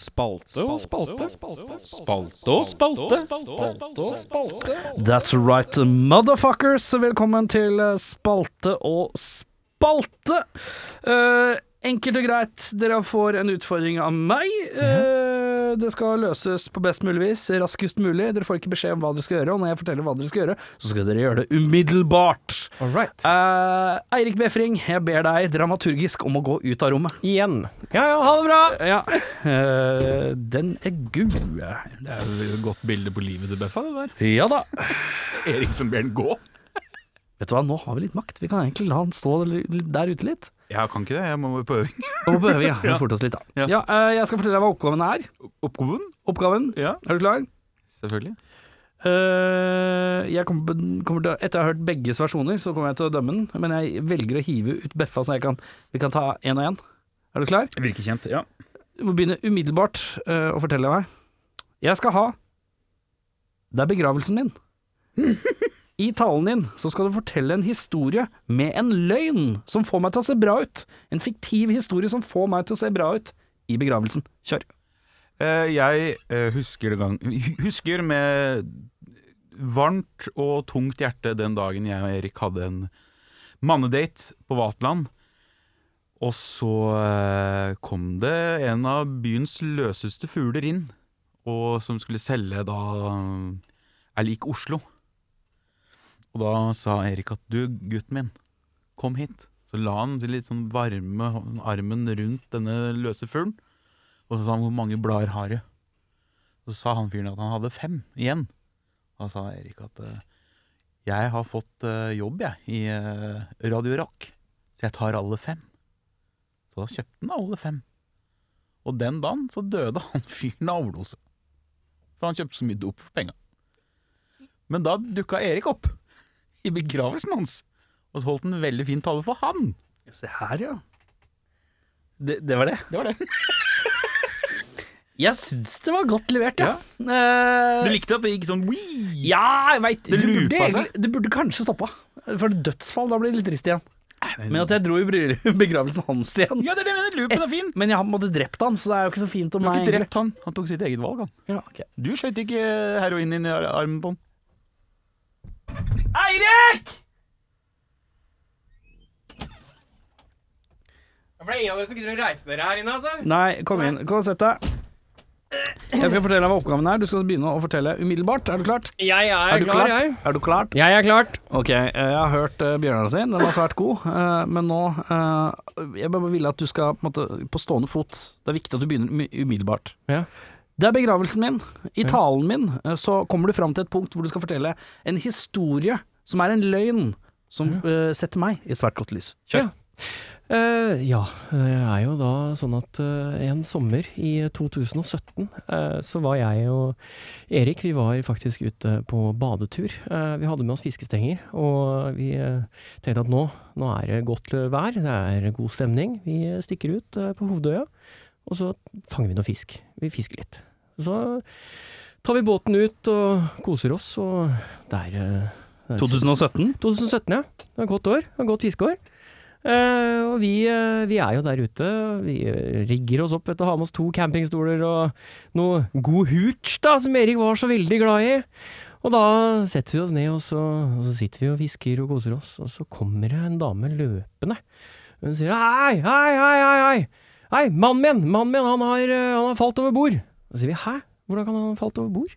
Speaker 6: Spalte og spalte. Spalte og spalte. Spalte og spalte.
Speaker 2: That's right, motherfuckers. Velkommen til eh, Spalte og spalte. Eh, enkelt og greit, dere får en utfordring av meg.
Speaker 4: Mhm.
Speaker 2: Eh, det skal løses på best mulig vis, raskest mulig. Dere får ikke beskjed om hva dere skal gjøre, og når jeg forteller hva dere skal gjøre, så skal dere gjøre det umiddelbart. Eh, Eirik Befring, jeg ber deg dramaturgisk om å gå ut av rommet.
Speaker 4: Igjen. Ja ja, ha det bra!
Speaker 2: Ja, eh, den er gul.
Speaker 3: Det er jo et godt bilde på livet til Beffa, det der.
Speaker 2: Ja da.
Speaker 5: Erik som ber den gå.
Speaker 2: Vet du hva, nå har vi litt makt. Vi kan egentlig la han stå der ute litt.
Speaker 3: Jeg kan ikke det, jeg må på øving.
Speaker 2: Da behøver vi ja. Vi forte oss litt, da. Ja.
Speaker 3: Ja.
Speaker 2: eh, jeg skal fortelle deg hva oppgaven er.
Speaker 3: Oppgaven?
Speaker 2: Oppgaven,
Speaker 3: Ja,
Speaker 2: er du klar?
Speaker 3: selvfølgelig.
Speaker 2: Eh, jeg kommer, kommer til, å- etter jeg har hørt begges versjoner, så kommer jeg til å dømme den. Men jeg velger å hive ut Beffa, så jeg kan, vi kan ta én og én. Er du klar?
Speaker 3: Virker kjent, ja.
Speaker 2: Du må begynne umiddelbart eh, å fortelle meg. Jeg skal ha Det er begravelsen min. I talen din så skal du fortelle en historie med en løgn som får meg til å se bra ut. En fiktiv historie som får meg til å se bra ut i begravelsen. Kjør.
Speaker 3: Eh, jeg eh, husker, det gang, husker med varmt og tungt hjerte den dagen jeg og Erik hadde en mannedate på Vatland. Og så eh, kom det en av byens løseste fugler inn, og som skulle selge da eh, er lik Oslo. Og da sa Erik at du, gutten min, kom hit. Så la han sin litt sånn varme hånd- armen rundt denne løse fuglen. Og så sa han hvor mange blader har du? Så sa han fyren at han hadde fem igjen. Da sa Erik at eh, jeg har fått eh, jobb jeg i eh, Radio Rock, så jeg tar alle fem. Så da kjøpte han alle fem. Og den dagen så døde han fyren av overdose. For han kjøpte så mye dop for penga. Men da dukka Erik opp i begravelsen hans, og så holdt han en veldig fin tale for han.
Speaker 2: Se her, ja. Det, det var det.
Speaker 3: Det var det.
Speaker 2: Jeg syns det var godt levert, ja.
Speaker 3: Du
Speaker 2: Eh,
Speaker 3: likte at det gikk sånn wii?
Speaker 2: ja, jeg veit
Speaker 3: Det
Speaker 2: du burde
Speaker 3: lupa seg.
Speaker 2: egentlig- Det burde kanskje stoppa. For dødsfall, da blir det litt trist igjen. Men at jeg dro i bry- begravelsen hans igjen.
Speaker 3: Ja, det er det jeg mener! Loopen er fin!
Speaker 2: Men jeg har på en måte drept han, så det er jo ikke så fint om
Speaker 3: Du har
Speaker 2: meg.
Speaker 3: ikke
Speaker 2: egentlig.
Speaker 3: drept han. Han tok sitt eget valg, han.
Speaker 2: Ja, ok.
Speaker 3: Du skjøt ikke eh, heroin inn i ar- armen på han.
Speaker 7: For det er ingen av dere som gidder å reise dere her inne, altså.
Speaker 2: Nei, kom inn. Kom og sett deg. Jeg skal fortelle deg hva oppgaven er. Du skal begynne å fortelle umiddelbart. Er du klart?
Speaker 7: Jeg er,
Speaker 2: Er du
Speaker 7: klar,
Speaker 2: klart?
Speaker 7: jeg.
Speaker 2: Er du klart?
Speaker 4: Jeg er klart.
Speaker 2: Ok, eh, jeg har hørt eh, Bjørnar sin, den var svært god, eh, men nå eh, Jeg bare ville at du skal på, en måte, på stående fot Det er viktig at du begynner umi- umiddelbart.
Speaker 4: Ja.
Speaker 2: Det er begravelsen min. I talen min eh, så kommer du fram til et punkt hvor du skal fortelle en historie som er en løgn, som eh, setter meg i svært godt lys. Kjør.
Speaker 4: Ja. Eh, ja, det er jo da sånn at eh, en sommer i 2017 eh, så var jeg og Erik, vi var faktisk ute på badetur. Eh, vi hadde med oss fiskestenger, og vi eh, tenkte at nå, nå er det godt vær, det er god stemning. Vi stikker ut eh, på Hovedøya, og så fanger vi noe fisk. Vi fisker litt. Så tar vi båten ut og koser oss, og der eh, der-
Speaker 2: 2017.
Speaker 4: 2017, ja. Det var et godt år. Det var et godt fiskeår. Eh, og vi, eh, vi er jo der ute. Vi eh, rigger oss opp vet du, har med oss to campingstoler og noe god hooch, da, som Erik var så veldig glad i. Og da setter vi oss ned, og så, og så sitter vi og fisker og koser oss. Og så kommer det en dame løpende. Hun sier hei, hei, hei, hei, hei. Hei, mannen min, mannen min, han har, eh, han har falt over bord. Da sier vi hæ? Hvordan kan han ha falt over bord?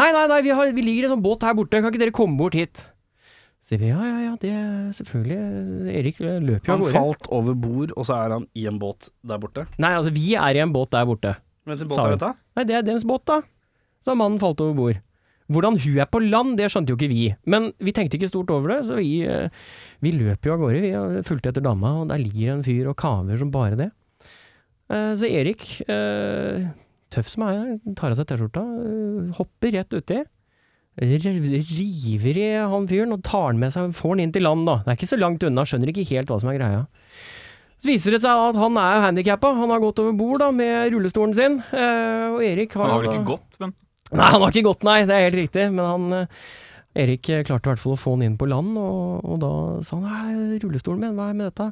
Speaker 4: Nei, nei, nei, vi, har, vi ligger i en sånn båt her borte, kan ikke dere komme bort hit? Så sier vi ja, ja, ja, det er selvfølgelig Erik løper jo av
Speaker 2: Han
Speaker 4: gårde.
Speaker 2: falt over bord, og så er han i en båt der borte.
Speaker 4: Nei, altså, vi er i en båt der borte.
Speaker 2: Mens en
Speaker 4: Sa
Speaker 2: båt er
Speaker 4: vi.
Speaker 2: dette?
Speaker 4: Nei, det er deres båt, da. Så har mannen falt over bord. Hvordan hun er på land, det skjønte jo ikke vi. Men vi tenkte ikke stort over det, så vi, eh, vi løp jo av gårde. Vi eh, fulgte etter dama, og der ligger en fyr og kaver som bare det. Eh, Så Erik, eh, tøff som er, tar av seg T-skjorta, eh, hopper rett uti. r- River i han fyren og tar han med seg, får han inn til land, da. Det er ikke så langt unna, skjønner ikke helt hva som er greia. Så viser det seg at han er handikappa. Han har gått over bord da, med rullestolen sin. eh, og Erik har
Speaker 3: Han har vel ikke gått, men
Speaker 4: Nei, han har ikke gått, nei. Det er helt riktig. Men han eh, Erik eh, klarte i hvert fall å få han inn på land, og, og da sa han Nei, rullestolen min, hva er med dette?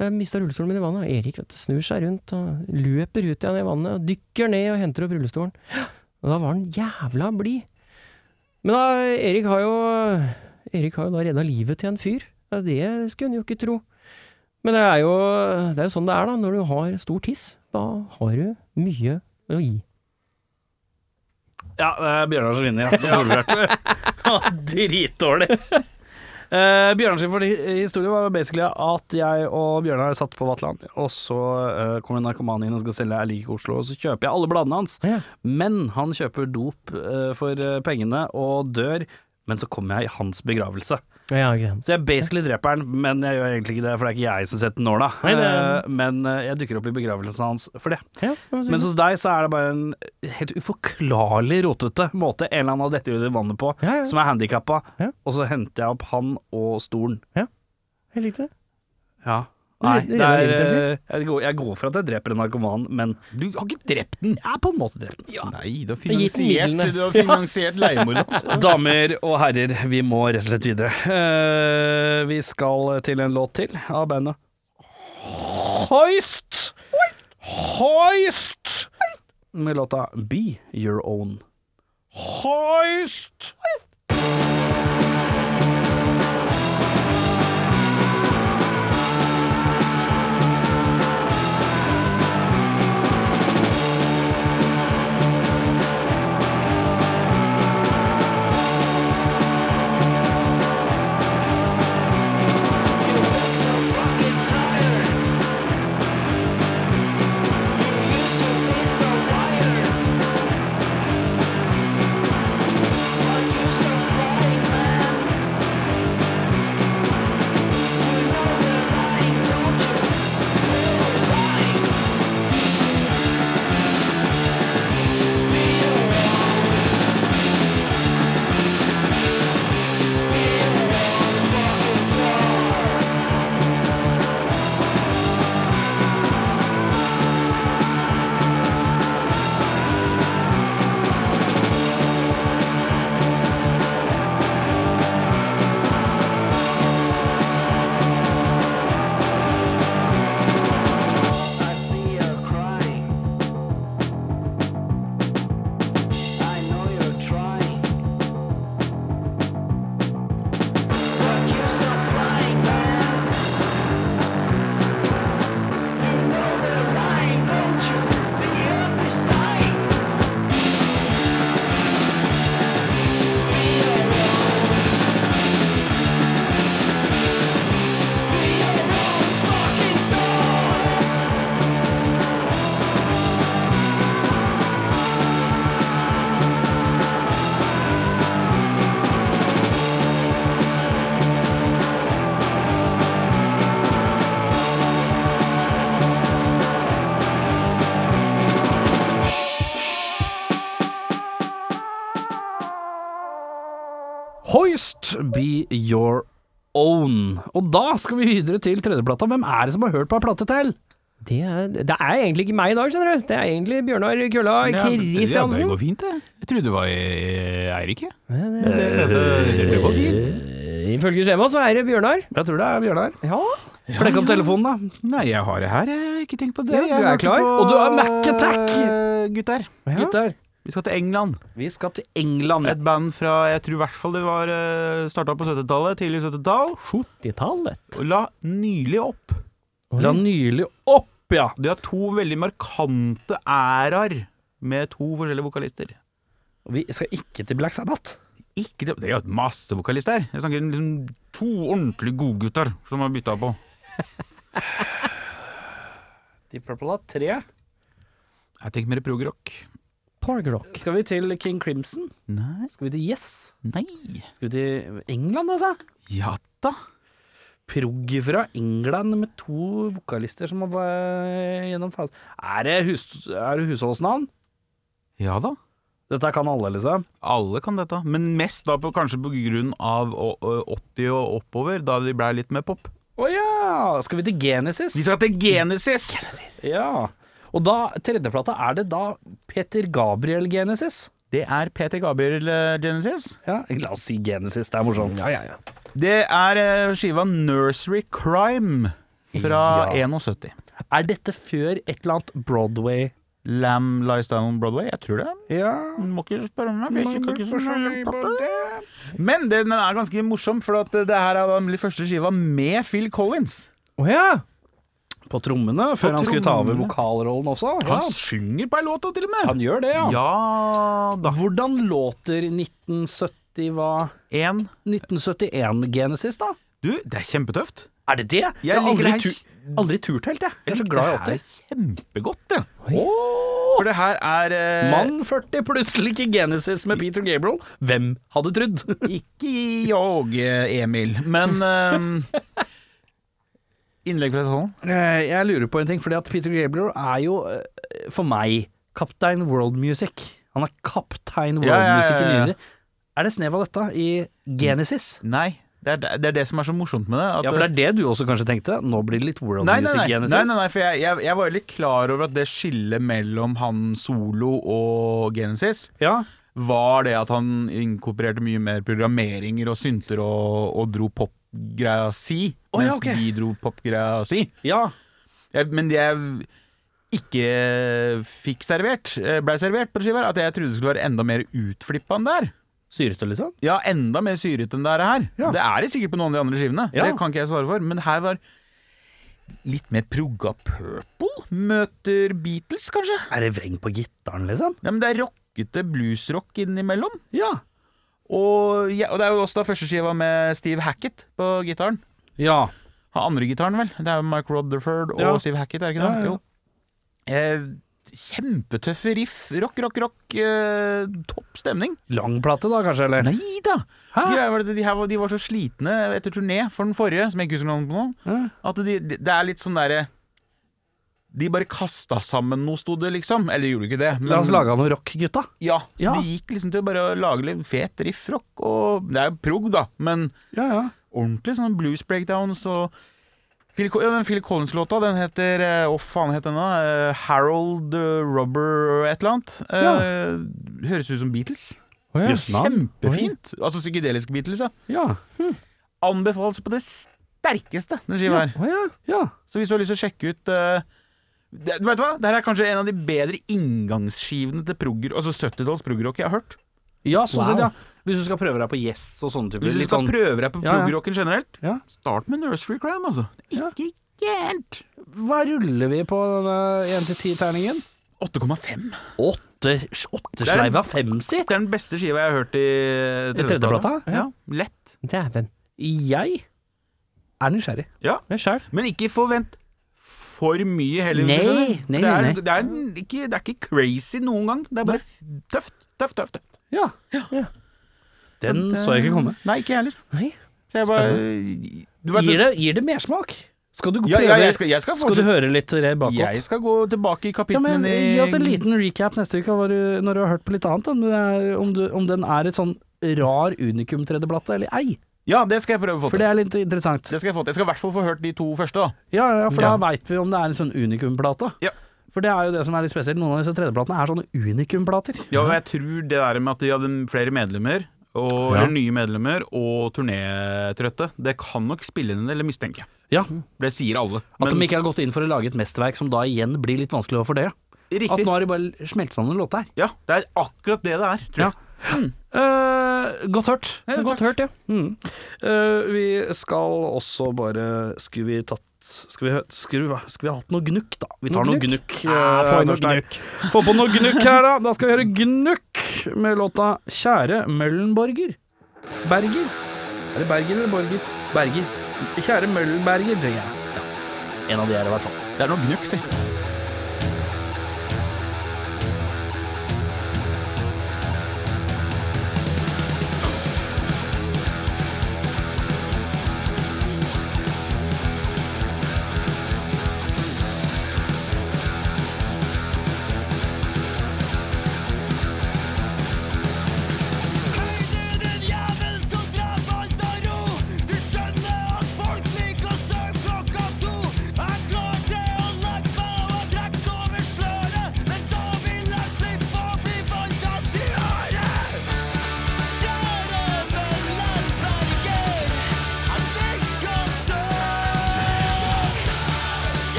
Speaker 4: Jeg mista rullestolen min i vannet. Erik vet du, snur seg rundt og løper ut igjen i vannet. Dykker ned og henter opp rullestolen. Og da var han jævla blid. Men da, Erik har jo Erik har jo da redda livet til en fyr. Ja, Det skulle en jo ikke tro. Men det er jo, det er jo sånn det er, da. Når du har stor tiss, da har du mye å gi.
Speaker 2: Ja, det er Bjørnar som vinner. ja. Det har du hørt. Dritdårlig. Uh, Bjørnars historie var basically at jeg og Bjørnar satt på Vatland, og så eh, kommer en narkoman inn og skal selge ei lik i Oslo, og så kjøper jeg alle bladene hans.
Speaker 4: Ja.
Speaker 2: Men han kjøper dop eh, for eh, pengene og dør, men så kommer jeg i hans begravelse.
Speaker 4: Ja, ikke sant.
Speaker 2: Så jeg basically dreper han, men jeg gjør egentlig ikke det, for det er ikke jeg som setter nåla.
Speaker 4: Nei, det-
Speaker 2: Eh, Men eh, jeg dukker opp i begravelsen hans for det.
Speaker 4: Ja, det var så
Speaker 2: Mens
Speaker 4: hyggelig.
Speaker 2: hos deg så er det bare en helt uforklarlig rotete måte en eller annen har dette ut i vannet på,
Speaker 4: ja, ja,
Speaker 2: som er handikappa,
Speaker 4: Ja.
Speaker 2: og så henter jeg opp han og stolen.
Speaker 4: jeg likte det.
Speaker 2: Ja.
Speaker 4: Du
Speaker 2: Nei,
Speaker 4: redder
Speaker 2: det
Speaker 4: hele
Speaker 2: er,
Speaker 4: livet,
Speaker 2: eh, jeg, går, jeg går for at jeg dreper en narkoman, men
Speaker 3: du har ikke drept den?
Speaker 2: jeg er på en måte drept.
Speaker 3: Nei, du har
Speaker 4: gitt den midlene.
Speaker 3: finansiert, du har finansiert leiemordet hans.
Speaker 2: Damer og herrer, vi må rett og slett videre. Eh, vi skal til en låt til av bandet Hoist! Hoist! Med låta Be Your Own. Hoist!
Speaker 8: I see her crying. I know you're trying. But you stop crying, man. You know they're lying, don't you? The earth is dying. Be alone. Be your own fucking soul.
Speaker 2: Hoist, Be Your Own. Og da skal vi videre til tredjeplata. Hvem er det som har hørt på ei plate til?
Speaker 4: Det er, det er egentlig ikke meg i dag, skjønner du. Det er egentlig Bjørnar Kølla
Speaker 3: det
Speaker 4: Kristiansen.
Speaker 3: går fint, det. Jeg trodde det var Eirik, jeg.
Speaker 4: Eh,
Speaker 3: Dette går fint.
Speaker 4: Ifølge skjema så er det Bjørnar.
Speaker 2: Jeg tror det er Bjørnar.
Speaker 4: Ja.
Speaker 2: Flekk opp telefonen, da.
Speaker 3: Nei, jeg har det her, jeg. har Ikke tenk på det.
Speaker 4: Ja, du
Speaker 3: Jeg
Speaker 4: er
Speaker 3: hørte
Speaker 4: klar.
Speaker 3: på,
Speaker 2: Og du er Mac Attack.
Speaker 3: eh, Gutter,
Speaker 2: Gutter.
Speaker 3: vi skal til England.
Speaker 2: Vi skal til
Speaker 4: Mm.
Speaker 2: England.
Speaker 3: Et band fra jeg tror i hvert fall det var eh, starta på 70-tallet, tidlig 70-tall.
Speaker 4: Tittallet.
Speaker 3: Og La nylig opp.
Speaker 2: La nylig opp, ja.
Speaker 3: De har to veldig markante æraer med to forskjellige vokalister.
Speaker 2: Vi skal ikke til Black Sabbath.
Speaker 3: Ikke det, det er jo et masse vokalister her. Jeg snakker om liksom to ordentlig gode gutter som har bytta på.
Speaker 2: Deep Purple har tre.
Speaker 3: Jeg tenker mer progrock.
Speaker 4: Pargrock.
Speaker 2: Skal vi til King Crimson?
Speaker 3: Nei.
Speaker 2: Skal vi til Yes?
Speaker 3: Nei.
Speaker 2: Skal vi til England, altså?
Speaker 3: Ja da.
Speaker 2: Prog fra England med to vokalister som var eh, gjennom fasen. Er det, hus, er det husholdsnavn?
Speaker 3: Ja da.
Speaker 2: Dette kan alle, liksom.
Speaker 3: Alle kan dette, men mest da på, kanskje på grunn av å- å 80 og oppover, da de ble litt mer pop.
Speaker 2: Å ja! Skal vi til Genesis?
Speaker 3: Vi skal til Genesis!
Speaker 2: Ja. Og da, tredjeplata, er det da Peter Gabriel Genesis?
Speaker 3: Det er Peter Gabriel eh, Genesis.
Speaker 2: Ja, La oss si Genesis, det er morsomt.
Speaker 4: Ja, ja, ja.
Speaker 3: Det er eh, skiva Nursery Crime fra 71.
Speaker 2: Er dette før et eller annet Broadway
Speaker 3: Lam Lies Down on Broadway, jeg tror det.
Speaker 2: Ja,
Speaker 3: Må ikke spørre meg. Jeg kan ikke så mye om det. Men den er ganske morsom, for at det her er den første skiva med Phil Collins.
Speaker 4: Å ja!
Speaker 2: På trommene, før han skulle ta over vokalrollen også. Ja,
Speaker 3: Han synger på ei låt, da, til og med.
Speaker 2: han gjør det, ja.
Speaker 3: Ja da.
Speaker 2: Hvordan låter 1970 hva
Speaker 3: En.
Speaker 2: 1971 Genesis, da?
Speaker 3: Du, det er kjempetøft.
Speaker 2: Er det det? Jeg, har
Speaker 3: liker
Speaker 2: aldri,
Speaker 3: det her-
Speaker 2: tur- aldri turt helt, jeg. Jeg er så glad i
Speaker 3: Det
Speaker 2: 80.
Speaker 3: er kjempegodt, det.
Speaker 2: Åh!
Speaker 3: For det her er eh,
Speaker 2: Mann 40, plutselig ikke Genesis med Peter Gabriel. Hvem hadde trodd?
Speaker 3: Ikke jeg, eh, Emil, men eh, Innlegg fra salen?
Speaker 2: Eh, Jeg lurer på en ting, fordi at Peter Gabriel er jo, eh, for meg, kaptein world music. Han er kaptein world
Speaker 3: Ja, ja, ja,
Speaker 2: music i
Speaker 3: ja, ja.
Speaker 2: nyere. Er det snev av dette i Genesis?
Speaker 3: Nei. Det er det, det er det som er så morsomt med det. at-
Speaker 2: Ja, for det er det du også kanskje tenkte. Nå blir det litt world
Speaker 3: Nei, nei,
Speaker 2: Sånn music
Speaker 3: nei, nei,
Speaker 2: Genesis.
Speaker 3: nei, nei for jeg, jeg, jeg var jo litt klar over at det skillet mellom han solo og Genesis
Speaker 2: Ja,
Speaker 3: var det at han inkorporerte mye mer programmeringer og synter og, og dro popgreia si,
Speaker 2: Å, ja,
Speaker 3: mens
Speaker 2: ok.
Speaker 3: de dro popgreia si.
Speaker 2: ja.
Speaker 3: Jeg, men det jeg ikke fikk servert, eh, ble servert på skiva, at jeg trodde det skulle være enda mer utflippa enn det er.
Speaker 2: Syrete, liksom.
Speaker 3: Ja, enda mer syret enn det er her.
Speaker 2: Ja.
Speaker 3: Det er det sikkert på noen av de andre skivene.
Speaker 2: Ja.
Speaker 3: Det kan ikke jeg svare for. Men her var litt mer progga purple møter Beatles, kanskje.
Speaker 2: Er det vreng på gitaren, liksom?
Speaker 3: Ja, men det er rockete bluesrock innimellom.
Speaker 2: Ja.
Speaker 3: Og, ja, og det er jo også da første skiva med Steve Hackett på gitaren.
Speaker 2: Ja.
Speaker 3: Han andre gitaren, vel. Det er jo Mike Rutherford og
Speaker 2: Ja.
Speaker 3: Steve Hackett, er det ikke
Speaker 2: Ja,
Speaker 3: det?
Speaker 2: ja, ja.
Speaker 3: Jo. Eh, kjempetøffe riff. Rock, rock, rock. Eh, topp stemning.
Speaker 2: Lang plate, da, kanskje? eller?
Speaker 3: Nei da! Greia var at De, her var, de var så slitne etter turné for den forrige, som jeg ikke husker navnet på nå,
Speaker 2: Ja.
Speaker 3: at de, de, det er litt sånn derre De bare kasta sammen noe, sto det liksom. Eller gjorde de ikke det. men-
Speaker 2: La oss lage av noe rock, gutta.
Speaker 3: Ja, så
Speaker 2: Ja.
Speaker 3: de gikk liksom til å bare lage litt fet riffrock, og det er jo prog, da, men
Speaker 2: Ja, ja.
Speaker 3: ordentlig sånn blues breakdowns og Phil, Co- ja, den Phil Collins-låta, den heter eh, Hva faen het den da? Eh, Harold eh, Rubber et eller annet. Eh, Høres ut som Beatles.
Speaker 4: Å ja.
Speaker 3: Kjempefint! Altså psykedeliske Beatles, ja.
Speaker 2: Ja.
Speaker 3: Anbefales på det sterkeste, den skiva her.
Speaker 4: Å ja.
Speaker 2: ja.
Speaker 3: Så hvis du har lyst til å sjekke ut eh, det, Vet du hva? Dette er kanskje en av de bedre inngangsskivene til progger, altså 70-talls progrock jeg har hørt.
Speaker 2: Ja, sånn
Speaker 4: Wow.
Speaker 2: sett, ja. Hvis du skal prøve deg på Yes og sånne typer.
Speaker 3: Hvis du
Speaker 2: litt
Speaker 3: skal
Speaker 2: sånn-
Speaker 3: prøve deg på
Speaker 2: Ja, ja.
Speaker 3: progrocken generelt,
Speaker 2: Ja.
Speaker 3: start med Nursery Crime, altså. Ikke gærent.
Speaker 2: Hva ruller vi på denne 1-10-terningen?
Speaker 3: 8,5.
Speaker 2: Åttesleiva fem, si.
Speaker 3: Det er den beste skiva jeg har hørt i
Speaker 2: Tredjeplata?
Speaker 3: Ja, lett.
Speaker 4: Dæven.
Speaker 2: Jeg er nysgjerrig.
Speaker 4: Jeg sjæl.
Speaker 3: Men ikke forvent for mye heller. hvis du
Speaker 2: Nei,
Speaker 3: skjønner.
Speaker 2: nei,
Speaker 3: det, er,
Speaker 2: nei, nei.
Speaker 3: Det, er ikke, det er ikke crazy noen gang. Det er bare tøft, tøft, tøft. tøft.
Speaker 2: Ja. Den så jeg ikke komme.
Speaker 3: Nei, ikke jeg heller.
Speaker 4: Nei.
Speaker 3: Så jeg bare du vet-
Speaker 2: Gir det, gir det mersmak? Skal du,
Speaker 3: ja,
Speaker 2: prøve-
Speaker 3: ja, jeg skal, jeg skal,
Speaker 2: skal du
Speaker 3: fortsette.
Speaker 2: høre litt bakåt?
Speaker 3: Jeg skal gå tilbake i
Speaker 2: Ja,
Speaker 3: kapitlene
Speaker 2: men
Speaker 3: i
Speaker 2: Gi oss en liten recap neste uke av hva du- når du har hørt på litt annet. Om, det er, om, du, om den er et sånn rar unikum-tredjeplate eller ei.
Speaker 3: Ja, det skal jeg prøve å få
Speaker 2: For
Speaker 3: til.
Speaker 2: det er litt interessant.
Speaker 3: Det skal jeg få til. Jeg skal i hvert fall få hørt de to første, da.
Speaker 2: Ja, ja for
Speaker 3: Ja.
Speaker 2: da veit vi om det er en sånn unikumplate.
Speaker 3: Ja.
Speaker 2: For det er jo det som er litt spesielt. Noen av disse tredjeplatene er sånne unikumplater.
Speaker 3: Ja, og jeg tror det der med at de hadde flere medlemmer, og, eller nye medlemmer, og turnétrøtte, det kan nok spille inn, eller mistenke.
Speaker 2: Ja,
Speaker 3: For Det sier alle.
Speaker 2: At de ikke har gått inn for å lage et mesterverk som da igjen blir litt vanskelig å fordøye. At
Speaker 3: Riktig.
Speaker 2: nå har de bare smelt sammen en låt her.
Speaker 3: Ja, det er akkurat det det er, tror jeg.
Speaker 2: Eh, godt hørt.
Speaker 3: Ja,
Speaker 2: godt hørt, ja. Mm. Eh, vi skal også bare Skulle vi tatt
Speaker 8: hatt Skal vi, hø- skru, skal vi ha hatt noe gnukk, da? Vi tar
Speaker 4: Noe
Speaker 8: noe
Speaker 4: gnukk?
Speaker 8: gnukk.
Speaker 4: Ja,
Speaker 8: eh,
Speaker 4: få inn noe
Speaker 8: Torstein. Få på noe gnukk her, da. Da skal vi høre Gnukk med låta 'Kjære Møllenborger'. Berger. Er det Berger eller Borger? Berger. Kjære Møllenberger, trenger jeg. Ja. En av de er det, i hvert fall.
Speaker 3: Det er noe gnukk, si.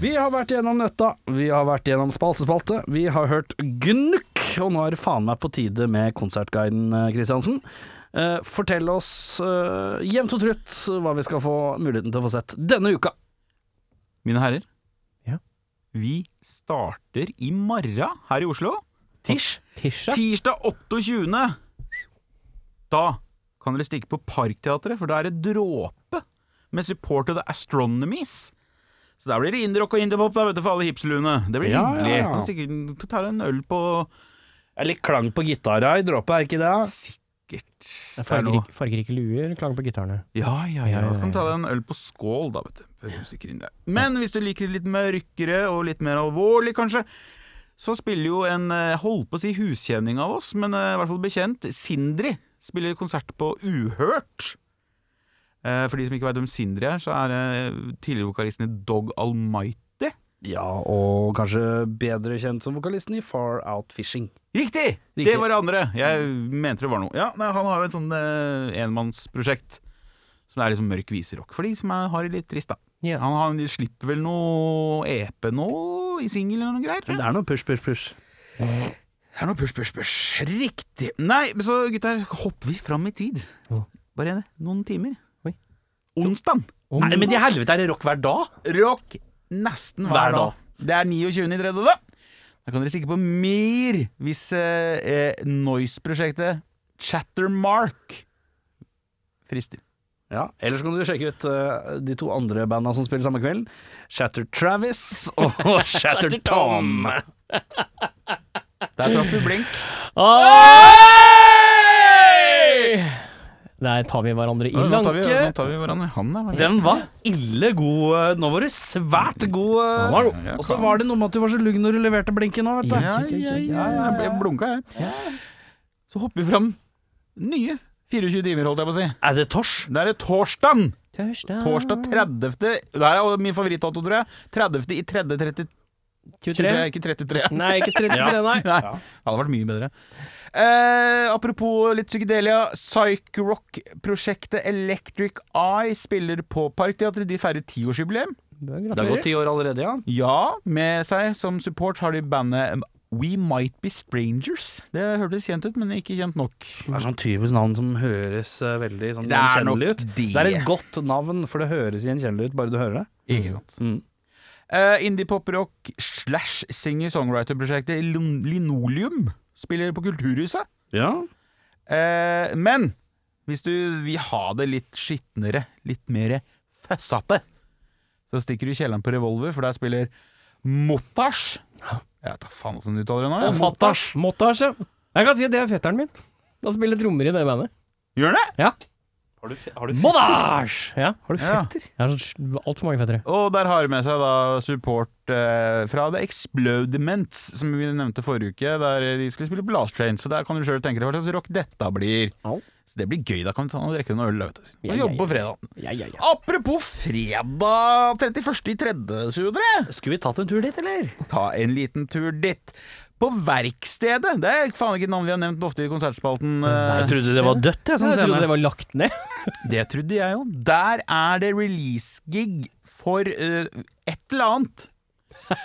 Speaker 8: Vi har vært gjennom nøtta, vi har vært gjennom spaltespalte, vi har hørt gnukk, og nå er det faen meg på tide med konsertguiden, eh, Kristiansen. Eh, fortell oss eh, jevnt og trutt hva vi skal få muligheten til å få sett denne uka.
Speaker 3: Mine herrer,
Speaker 4: Ja.
Speaker 3: vi starter i morgen her i Oslo.
Speaker 8: Tish?
Speaker 4: Tisha?
Speaker 3: Tirsdag 28. Da kan dere stikke på Parkteatret, for da er det dråpe med support of the astronomies. Så der blir det indie-rock og indie-pop da, vet du, for alle hipsluene. Det blir
Speaker 8: Ja, ja,
Speaker 3: hyggelig.
Speaker 8: ja.
Speaker 3: Kan du sikkert ta deg en øl på
Speaker 8: Er litt klang på gitara i dråpa, er ikke det?
Speaker 3: Sikkert. Det er noe-
Speaker 4: Fargerike, fargerike luer, klang på gitarene.
Speaker 3: Ja, ja,
Speaker 4: Ja,
Speaker 3: ja.
Speaker 4: ja,
Speaker 3: Så kan du ta
Speaker 4: ja.
Speaker 3: deg en øl på skål, da, vet du. Før du stikker inn der. Men hvis du liker det litt mørkere og litt mer alvorlig, kanskje, så spiller jo en eh, holdt på å si huskjenning av oss, men eh, i hvert fall bekjent, Sindri, spiller konsert på Uhørt. Eh, For de som ikke veit hvem Sindri er, så er eh, tidligere vokalisten i Dog Almighty.
Speaker 8: Ja, og kanskje bedre kjent som vokalisten i Far Out Fishing.
Speaker 3: Riktig! Det
Speaker 8: Riktig.
Speaker 3: var det andre. Jeg mente det var noe. Ja, nei, Han har jo et sånn eh, enmannsprosjekt som er liksom mørk viserock, for de som er, har det litt trist, da.
Speaker 4: Ja.
Speaker 3: Han, har- de slipper vel noe EP nå, i singel eller noe greier? tror
Speaker 8: Men
Speaker 3: jeg.
Speaker 8: det er noe push, push, push.
Speaker 3: Det er noe push, push, push. Riktig. Nei, men så gutter, hopper vi fram i tid.
Speaker 4: Ja.
Speaker 3: Bare noen timer.
Speaker 4: Oi.
Speaker 3: Onsdag.
Speaker 4: Om-
Speaker 8: Nei, men i helvete, er det rock hver dag?
Speaker 3: Rock nesten hver,
Speaker 8: Hver dag.
Speaker 3: dag. Det er 29. i tredje, da. Da kan dere stikke på Mir hvis eh, eh, Noise-prosjektet Chattermark frister.
Speaker 8: Ja, Eller så kan du sjekke ut eh, de to andre banda som spiller samme kvelden. Shatter Travis og Shatter Tom.
Speaker 3: Der traff du blink.
Speaker 4: Ah! Der tar vi hverandre i
Speaker 3: Oi, Nå tar vi, nå
Speaker 4: lanke.
Speaker 3: tar vi hverandre i handa. hva er det?
Speaker 2: Den var ille god. eh, Nå var du svært god. eh,
Speaker 3: Ja,
Speaker 2: Og så
Speaker 3: kan-
Speaker 2: var det noe med at du var så lugn når du leverte blinken òg, vet du.
Speaker 3: Ja, ja, ja, ja, jeg ble blunka, jeg. Så hopper vi fram nye 24 timer, holdt jeg på å si.
Speaker 2: Er det tors?
Speaker 3: Det er det torsdagen! Torsdag 30. Det her er jo min favorittdato, tror jeg. 30. i 30.33.
Speaker 4: 23?
Speaker 3: Ikke 33.
Speaker 4: Nei, ikke 33,
Speaker 3: Nei,
Speaker 4: nei.
Speaker 3: det hadde vært mye bedre. Eh, apropos litt psykedelia. Psych-rock-prosjektet Electric Eye spiller på Parkteatret. De feirer tiårsjubileum.
Speaker 2: Det har gått ti år allerede, ja.
Speaker 3: Ja, med seg som support har de bandet We Might Be Strangers. Det hørtes kjent ut, men ikke kjent nok.
Speaker 2: Det er sånn typisk navn som høres eh, veldig sånn
Speaker 3: Det er nok
Speaker 2: gjenkjennelig ut.
Speaker 3: det.
Speaker 2: Det er et godt navn, for det høres gjenkjennelig ut bare du hører det.
Speaker 3: Ikke sant.
Speaker 2: Mm.
Speaker 3: Eh, Indie-pop-rock slash singer-songwriter-prosjektet Lin- Linoleum spiller på Kulturhuset.
Speaker 2: Ja.
Speaker 3: Eh, men hvis du vil ha det litt skitnere, litt mer føssete, så stikker du i kjelleren på Revolver, for der spiller Mottash. Jeg vet da faen hvordan du uttaler det nå. jeg. Mottash.
Speaker 4: Mottasj, ja. Jeg kan si at det er fetteren min. Han spiller trommer i det bandet.
Speaker 3: Gjør han det?
Speaker 4: Mottasj! Ja. Har du
Speaker 3: Ja.
Speaker 4: fetter? Jeg har sånn altfor mange fettere.
Speaker 3: Og der har de med seg da support eh, fra The Explodements, som vi nevnte forrige uke, der de skulle spille på Last Train. Så der kan du sjøl tenke deg hva slags rock dette blir.
Speaker 4: Au.
Speaker 3: Så det blir gøy. Da kan du ta og drikke noe øl. da, Vet du.
Speaker 4: Ja,
Speaker 3: Og
Speaker 4: ja,
Speaker 3: jobbe på fredag.
Speaker 4: Ja, ja, ja.
Speaker 3: Apropos fredag 31.3.23.
Speaker 2: Skulle vi tatt en tur dit, eller?
Speaker 3: ta en liten tur dit. På Verkstedet. Det er faen ikke et navn vi har nevnt ofte i konsertspalten. eh,
Speaker 2: Jeg trodde det var dødt, jeg, som
Speaker 4: Jeg trodde
Speaker 2: scene.
Speaker 4: det sånn var lagt ned.
Speaker 3: Det trodde jeg jo. Der er det release-gig for eh, et eller annet.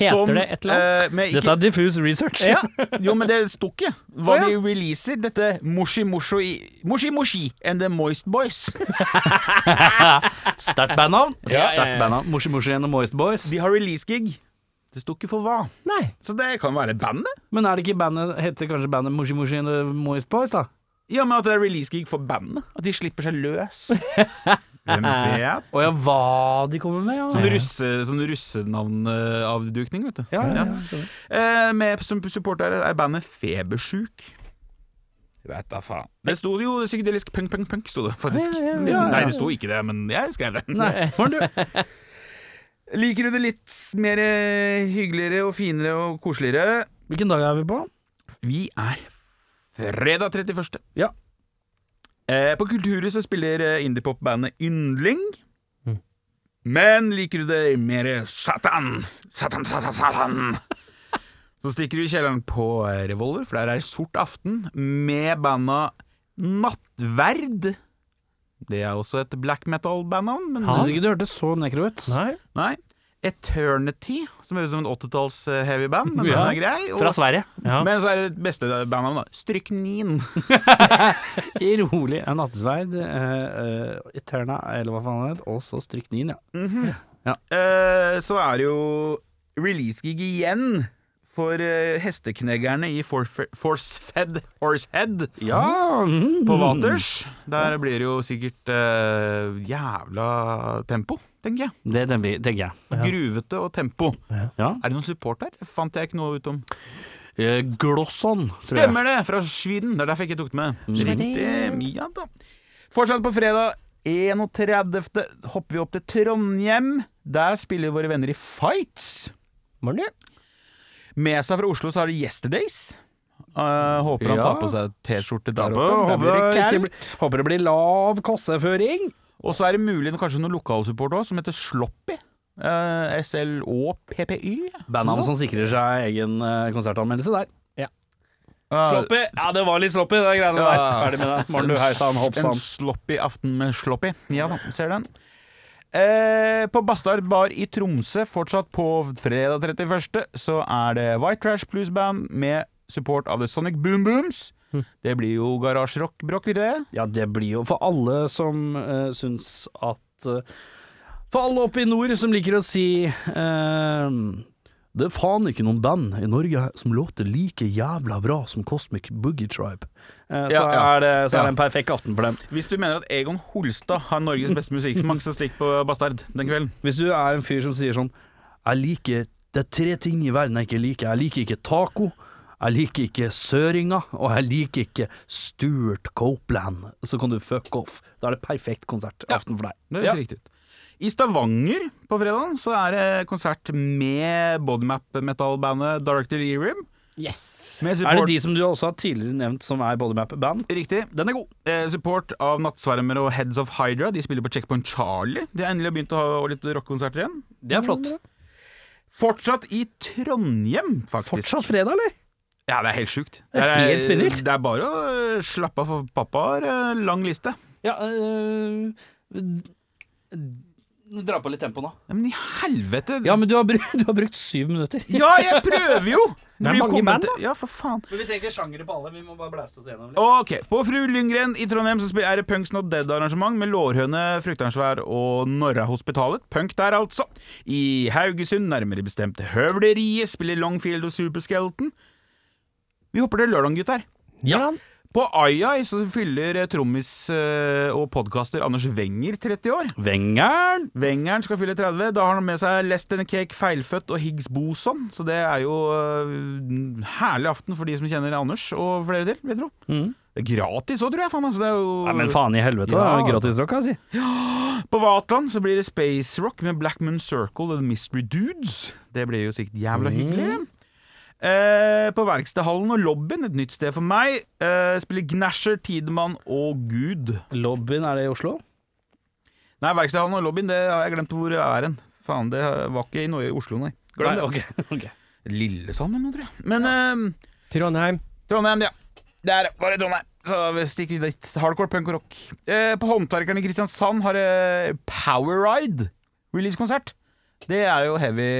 Speaker 4: Heter det et eller
Speaker 3: annet?
Speaker 2: Dette er diffus research.
Speaker 4: Ja.
Speaker 3: Jo, men det sto ikke hva
Speaker 4: Å, ja.
Speaker 3: de releaser. Dette Moshi Moshi Moshi Moshi and The Moist Boys.
Speaker 2: Sterkt bandnavn.
Speaker 4: ja, ja.
Speaker 2: Sterkt bandnavn. Moshi Moshi and the Moist Boys.
Speaker 3: De har release-gig. Det sto ikke for hva.
Speaker 4: Nei.
Speaker 3: Så det kan være bandet.
Speaker 2: Men er det ikke bandet, heter kanskje bandet Moshi Moshi and the Moist Boys, da?
Speaker 3: Ja, men at det er release-gig for bandet. At de slipper seg løs. Hvem vet?
Speaker 2: Å ja, hva de kommer med, ja.
Speaker 3: Sånn, russe, sånn russenavnavdukning, vet du.
Speaker 2: ja, ja, ja.
Speaker 3: Eh, med som supporter er bandet Febersjuk. Vet da faen. Det sto jo psykedelisk punk, punk, punk, sto det faktisk. Nei, det sto ikke det, men jeg skrev det. Liker du det litt mer eh, hyggeligere og finere og koseligere?
Speaker 2: Hvilken dag er vi på?
Speaker 3: Vi er fredag 31.
Speaker 2: Ja.
Speaker 3: Eh, på Kulturhuset spiller eh, indiepop-bandet Yndling.
Speaker 2: Mm.
Speaker 3: Men liker du det mer Satan, Satan, Satan, Satan Så stikker du i kjelleren på eh, Revolver, for der er Sort aften, med banda Nattverd. Det er også et black metal-bandnavn, men
Speaker 2: Jeg syns ikke du hørtes så nekro ut.
Speaker 4: Nei.
Speaker 3: nei. Eternity, som høres ut som en 80-talls eh, heavy band, men
Speaker 2: Ja.
Speaker 3: den er grei.
Speaker 2: Fra Sverige.
Speaker 4: Ja.
Speaker 3: Men så er det beste bandnavnet, da. Stryknin.
Speaker 2: I rolig en nattesverd, eh, eh, Eterna, eller hva faen det het, og så stryknin, ja.
Speaker 3: Eh, så er det jo release-gig igjen for eh, hestekneggerne i Forfe- Forcefed Horsehead
Speaker 2: Ja, mm,
Speaker 3: på Waters. Der blir det jo sikkert eh, jævla tempo, tenker jeg.
Speaker 2: Det tenker jeg- tenker jeg.
Speaker 3: Gruvete og tempo.
Speaker 2: Ja.
Speaker 3: Er det noen support der? Fant jeg ikke noe ut om.
Speaker 2: Eh, Glosson, tror jeg. Mm.
Speaker 3: Stemmer det! Fra Sweden. Det er derfor jeg ikke tok det med. Riktig. Ja da. Fortsatt på fredag 31. hopper vi opp til Trondheim. Der spiller våre venner i Fights.
Speaker 4: Morgen, du.
Speaker 3: Med seg fra Oslo så har de Yesterdays. Eh, håper han
Speaker 2: Ja.
Speaker 3: tar på seg T-skjorte der oppe. for der
Speaker 2: Håper,
Speaker 3: blir det
Speaker 2: ikke
Speaker 3: kaldt.
Speaker 2: bli- håper det blir lav kosseføring.
Speaker 3: Og så er det mulig kanskje noen lokalsupport òg, som heter Sloppy. Uh, SLÅPPY.
Speaker 2: Bandnavn som sikrer seg egen eh, konsertanmeldelse der.
Speaker 3: Uh,
Speaker 2: Sloppy! Ja, det var litt sloppy, det greiene der.
Speaker 3: Ja.
Speaker 2: Ferdig med det. Morten, du heisan,
Speaker 3: en
Speaker 2: hoppsan.
Speaker 3: sloppy aften med Sloppy. Ja da, ser den. Eh, på Bastard bar i Tromsø, fortsatt på fredag 31., så er det White Trash Blues Band med support av The Sonic Boom Booms. Det blir jo garasjerock-brokk, vil det?
Speaker 2: Ja, det blir jo for alle som uh, syns at eh, For alle oppe i nord som liker å si eh, Det er faen ikke noen band i Norge som låter like jævla bra som Cosmic Boogie Tribe. Eh, så,
Speaker 3: Ja, ja.
Speaker 2: Er det, så er
Speaker 3: Ja.
Speaker 2: det en perfekt aften for dem.
Speaker 3: Hvis du mener at Egon Holstad har Norges beste musikksmak, så stikk på Bastard den kvelden.
Speaker 2: Hvis du er en fyr som sier sånn Jeg liker Det er tre ting i verden jeg ikke liker. Jeg liker ikke taco. Jeg liker ikke søringa, og jeg liker ikke Stuart Copeland. Så kan du fuck off. Da er det perfekt konsertaften for deg.
Speaker 3: Det høres riktig ut. I Stavanger på fredag så er det konsert med bodymap-metallbandet Director Erim.
Speaker 4: Yes!
Speaker 2: Er
Speaker 3: Med
Speaker 2: det
Speaker 3: support,
Speaker 2: de som du også har tidligere nevnt som er Bodymap-band?
Speaker 3: riktig,
Speaker 2: Den er god.
Speaker 3: eh, support av Nattsvermer og Heads of Hydra. De spiller på Checkpoint Charlie. De har endelig begynt å ha litt rockekonserter igjen.
Speaker 2: Det er flott.
Speaker 3: Fortsatt i Trondheim, faktisk.
Speaker 2: Fortsatt fredag, eller?
Speaker 3: Ja, det er helt sjukt.
Speaker 2: Det er helt spinnvilt.
Speaker 3: Det er bare å eh, slappe av, for pappa har eh, lang liste.
Speaker 2: Ja øh, Dra på litt tempo nå.
Speaker 3: Ja, men i helvete!
Speaker 2: Ja, men du har, brukt, du har brukt syv minutter.
Speaker 3: Ja, jeg prøver jo! Det,
Speaker 4: er
Speaker 3: blir jo
Speaker 4: mange band,
Speaker 3: kommenter- Ja, for faen.
Speaker 2: Men vi trenger sjangere på alle. Vi må bare blæste oss gjennom
Speaker 3: Ok, På Fru Lyngren i Trondheim så spiller- er det Punks Not Dead-arrangement med Lårhøne, Fruktansvær og Norra Hospitalet. Punk der, altså. I Haugesund, nærmere bestemt Høvleriet, spiller Longfield og Superskeleton. Vi hopper til lørdag, gutter.
Speaker 2: Ja.
Speaker 3: På Ai-Ai så fyller eh, trommis eh, og podkaster Anders Wenger 30 år.
Speaker 2: Wengern.
Speaker 3: Wengeren skal fylle 30. Da har han med seg Less Than a Cake, Feilfødt og Higgs Boson. Så det er jo øh, en herlig aften for de som kjenner Anders, og flere til, vil jeg tro.
Speaker 2: Mhm.
Speaker 3: Det er gratis òg, tror jeg. Faen, altså. det er jo...
Speaker 2: Nei, men faen i helvete.
Speaker 3: Ja.
Speaker 2: Ja. altså. Gratisrock, kan jeg si.
Speaker 3: På Vatland så blir det Space Rock med Black Moon Circle og The Mystery Dudes. Det blir jo sikkert jævla
Speaker 2: Mm.
Speaker 3: hyggelig. Eh, på Verkstedhallen og Lobbyen, et nytt sted for meg, eh, spiller Gnasher, Tidemann og Gud.
Speaker 2: Lobbyen, er det i Oslo?
Speaker 3: Nei, Verkstedhallen og Lobbyen, det har jeg glemt hvor er hen. Faen, det var ikke i Norge, Oslo, nei. Glem
Speaker 2: Nei,
Speaker 3: det.
Speaker 2: ok, ok.
Speaker 3: Lillesand eller noe, tror jeg. Men ehm,
Speaker 4: Trondheim.
Speaker 3: Trondheim, ja. Der var det Trondheim. Så vi stikker vi dit. Hardcore punk og rock. Eh, på Håndverkerne i Kristiansand har det Power Ride releasekonsert. Det er jo heavy,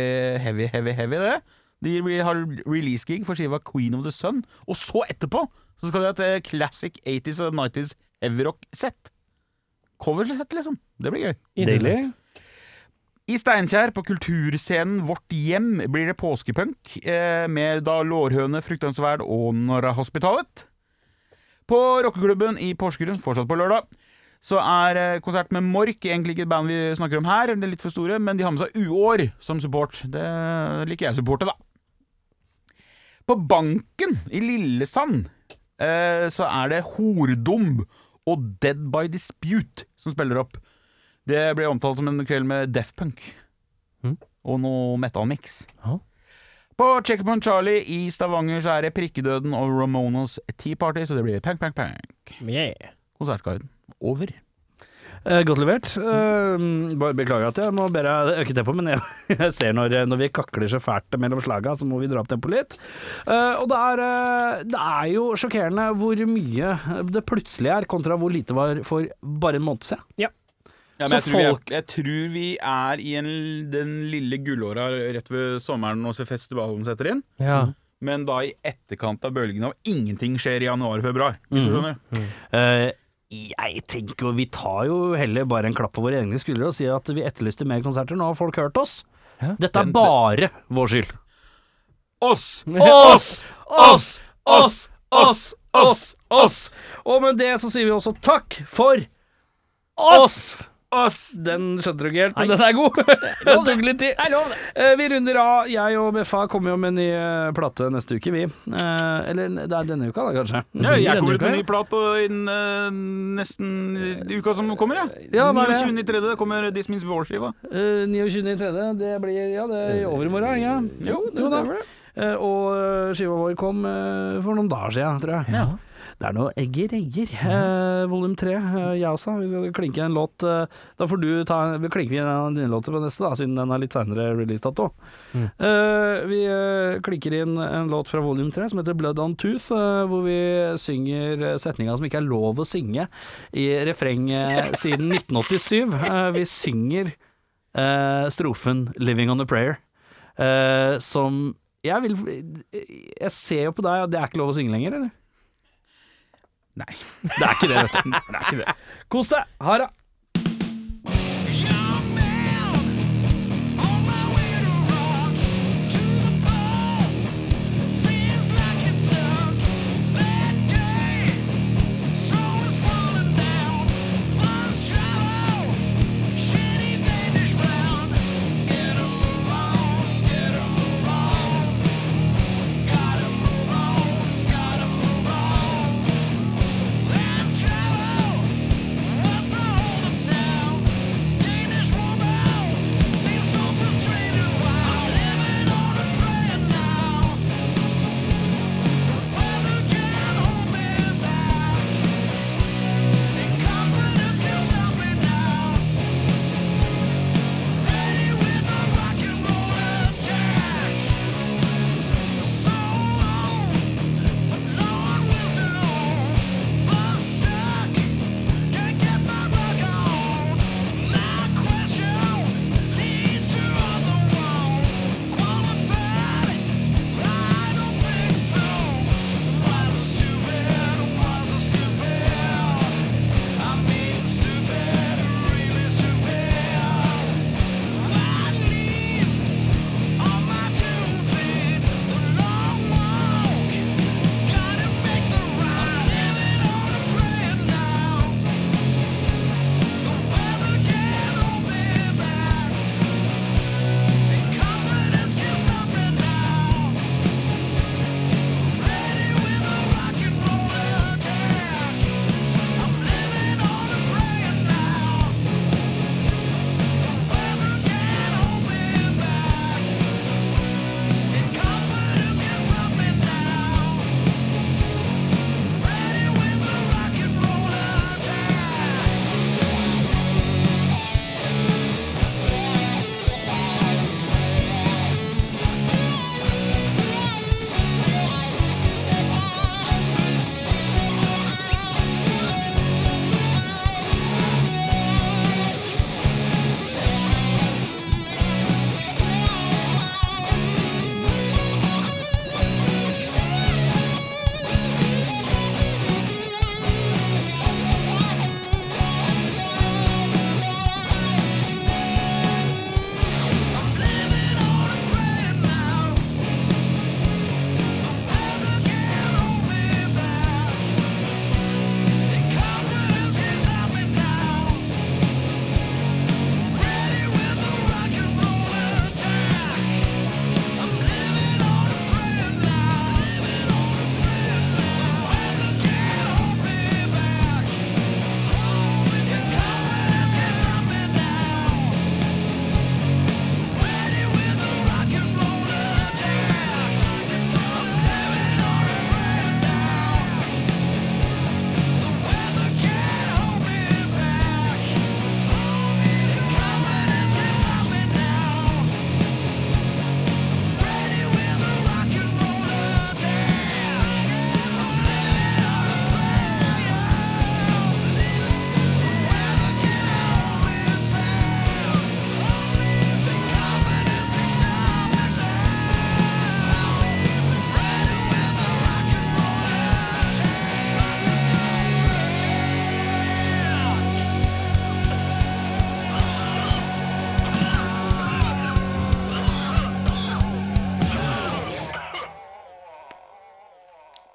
Speaker 3: heavy, heavy, heavy, det. De re- har release-gig for skiva Queen of the Sun. Og så etterpå så skal de ha et eh, classic 80s og 90s heavyrock-sett. Cover-sett, liksom. Det blir gøy.
Speaker 4: Interessant.
Speaker 3: I Steinkjer, på kulturscenen Vårt Hjem, blir det påskepunk eh, med da Lårhøne, Fruktansverd og Norra Hospitalet. På rockeklubben i Porsgrunn, fortsatt på lørdag, så er eh, konsert med Mork, egentlig ikke et band vi snakker om her, det er litt for store, men de har med seg Uår som support. Det liker jeg å supporte, da. På Banken i Lillesand eh, så er det Hordom og Dead by Dispute som spiller opp. Det ble omtalt som en kveld med Def Punk
Speaker 4: Mhm.
Speaker 3: og noe metal mix.
Speaker 4: Ja.
Speaker 3: På Checkpoint Charlie i Stavanger så er det Prikkedøden og Ramonas Tea Party, så det blir pang, pang, pang.
Speaker 4: Yeah.
Speaker 3: Konsertguiden over.
Speaker 2: Eh, godt levert. Eh, bare beklager at jeg må be deg øke tempoet, men jeg, jeg ser når, når vi kakler så fælt mellom slaga, så må vi dra opp tempoet litt. Eh, og det er, eh, det er jo sjokkerende hvor mye det plutselig er, kontra hvor lite var for bare en måned siden.
Speaker 3: Ja,
Speaker 2: men jeg tror vi er-
Speaker 3: er i den lille gullåra rett ved sommeren og så festivalen setter inn.
Speaker 4: Ja.
Speaker 3: Men da i etterkant av bølgen av ingenting skjer i januar og februar. Hvis du skjønner.
Speaker 2: Eh, jeg tenker jo, Vi tar jo heller bare en klapp på våre egne skuldre og sier at vi etterlyste mer konserter. Nå har folk hørt oss.
Speaker 4: Ja.
Speaker 2: Dette er bare vår skyld.
Speaker 3: Oss!
Speaker 2: Oss! Oss! Oss! Oss! Oss! Oss! Og med det så sier vi også takk for oss! Oss! Den skjønte du ikke helt, men den er god. Den tok litt tid. Eh, Vi runder av. Jeg og Beffa kommer jo med en ny eh, plate neste uke, vi. Eh, Eller det er denne uka, da, kanskje.
Speaker 3: Ja, jeg
Speaker 4: Denne
Speaker 3: kommer ut med
Speaker 4: uka,
Speaker 3: en ny plat og inn, eh, nesten i uka som kommer, jeg.
Speaker 2: Ja, hva er det?
Speaker 3: 29.3. kommer This Means War-skiva.
Speaker 2: Eh, 29.3. Det blir Ja, det er i overmorgen, ja. Jo, det stemmer, det. Og eh, skiva vår kom eh, for noen dager siden, tror jeg. Det er noe greier. Eh, Volum tre, eh, jeg også. Vi skal klinke en låt. Eh, da får du ta Vi klinker inn en av dine låter på neste, da, siden den er litt seinere releasedato. Eh, vi eh, klinker inn en låt fra volum tre som heter Blood on Tooth, eh, hvor vi synger setninga som ikke er lov å synge i refrenget siden 1987. Eh, vi synger eh, strofen 'Living on a Prayer', eh, som jeg vil Jeg ser jo på deg at det er ikke lov å synge lenger, eller?
Speaker 3: Nei.
Speaker 2: Det er ikke det, vet du. Det er ikke det. Kos deg. Ha det.
Speaker 8: Gotta move on.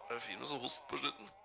Speaker 9: Det er fint med sånn host på slutten.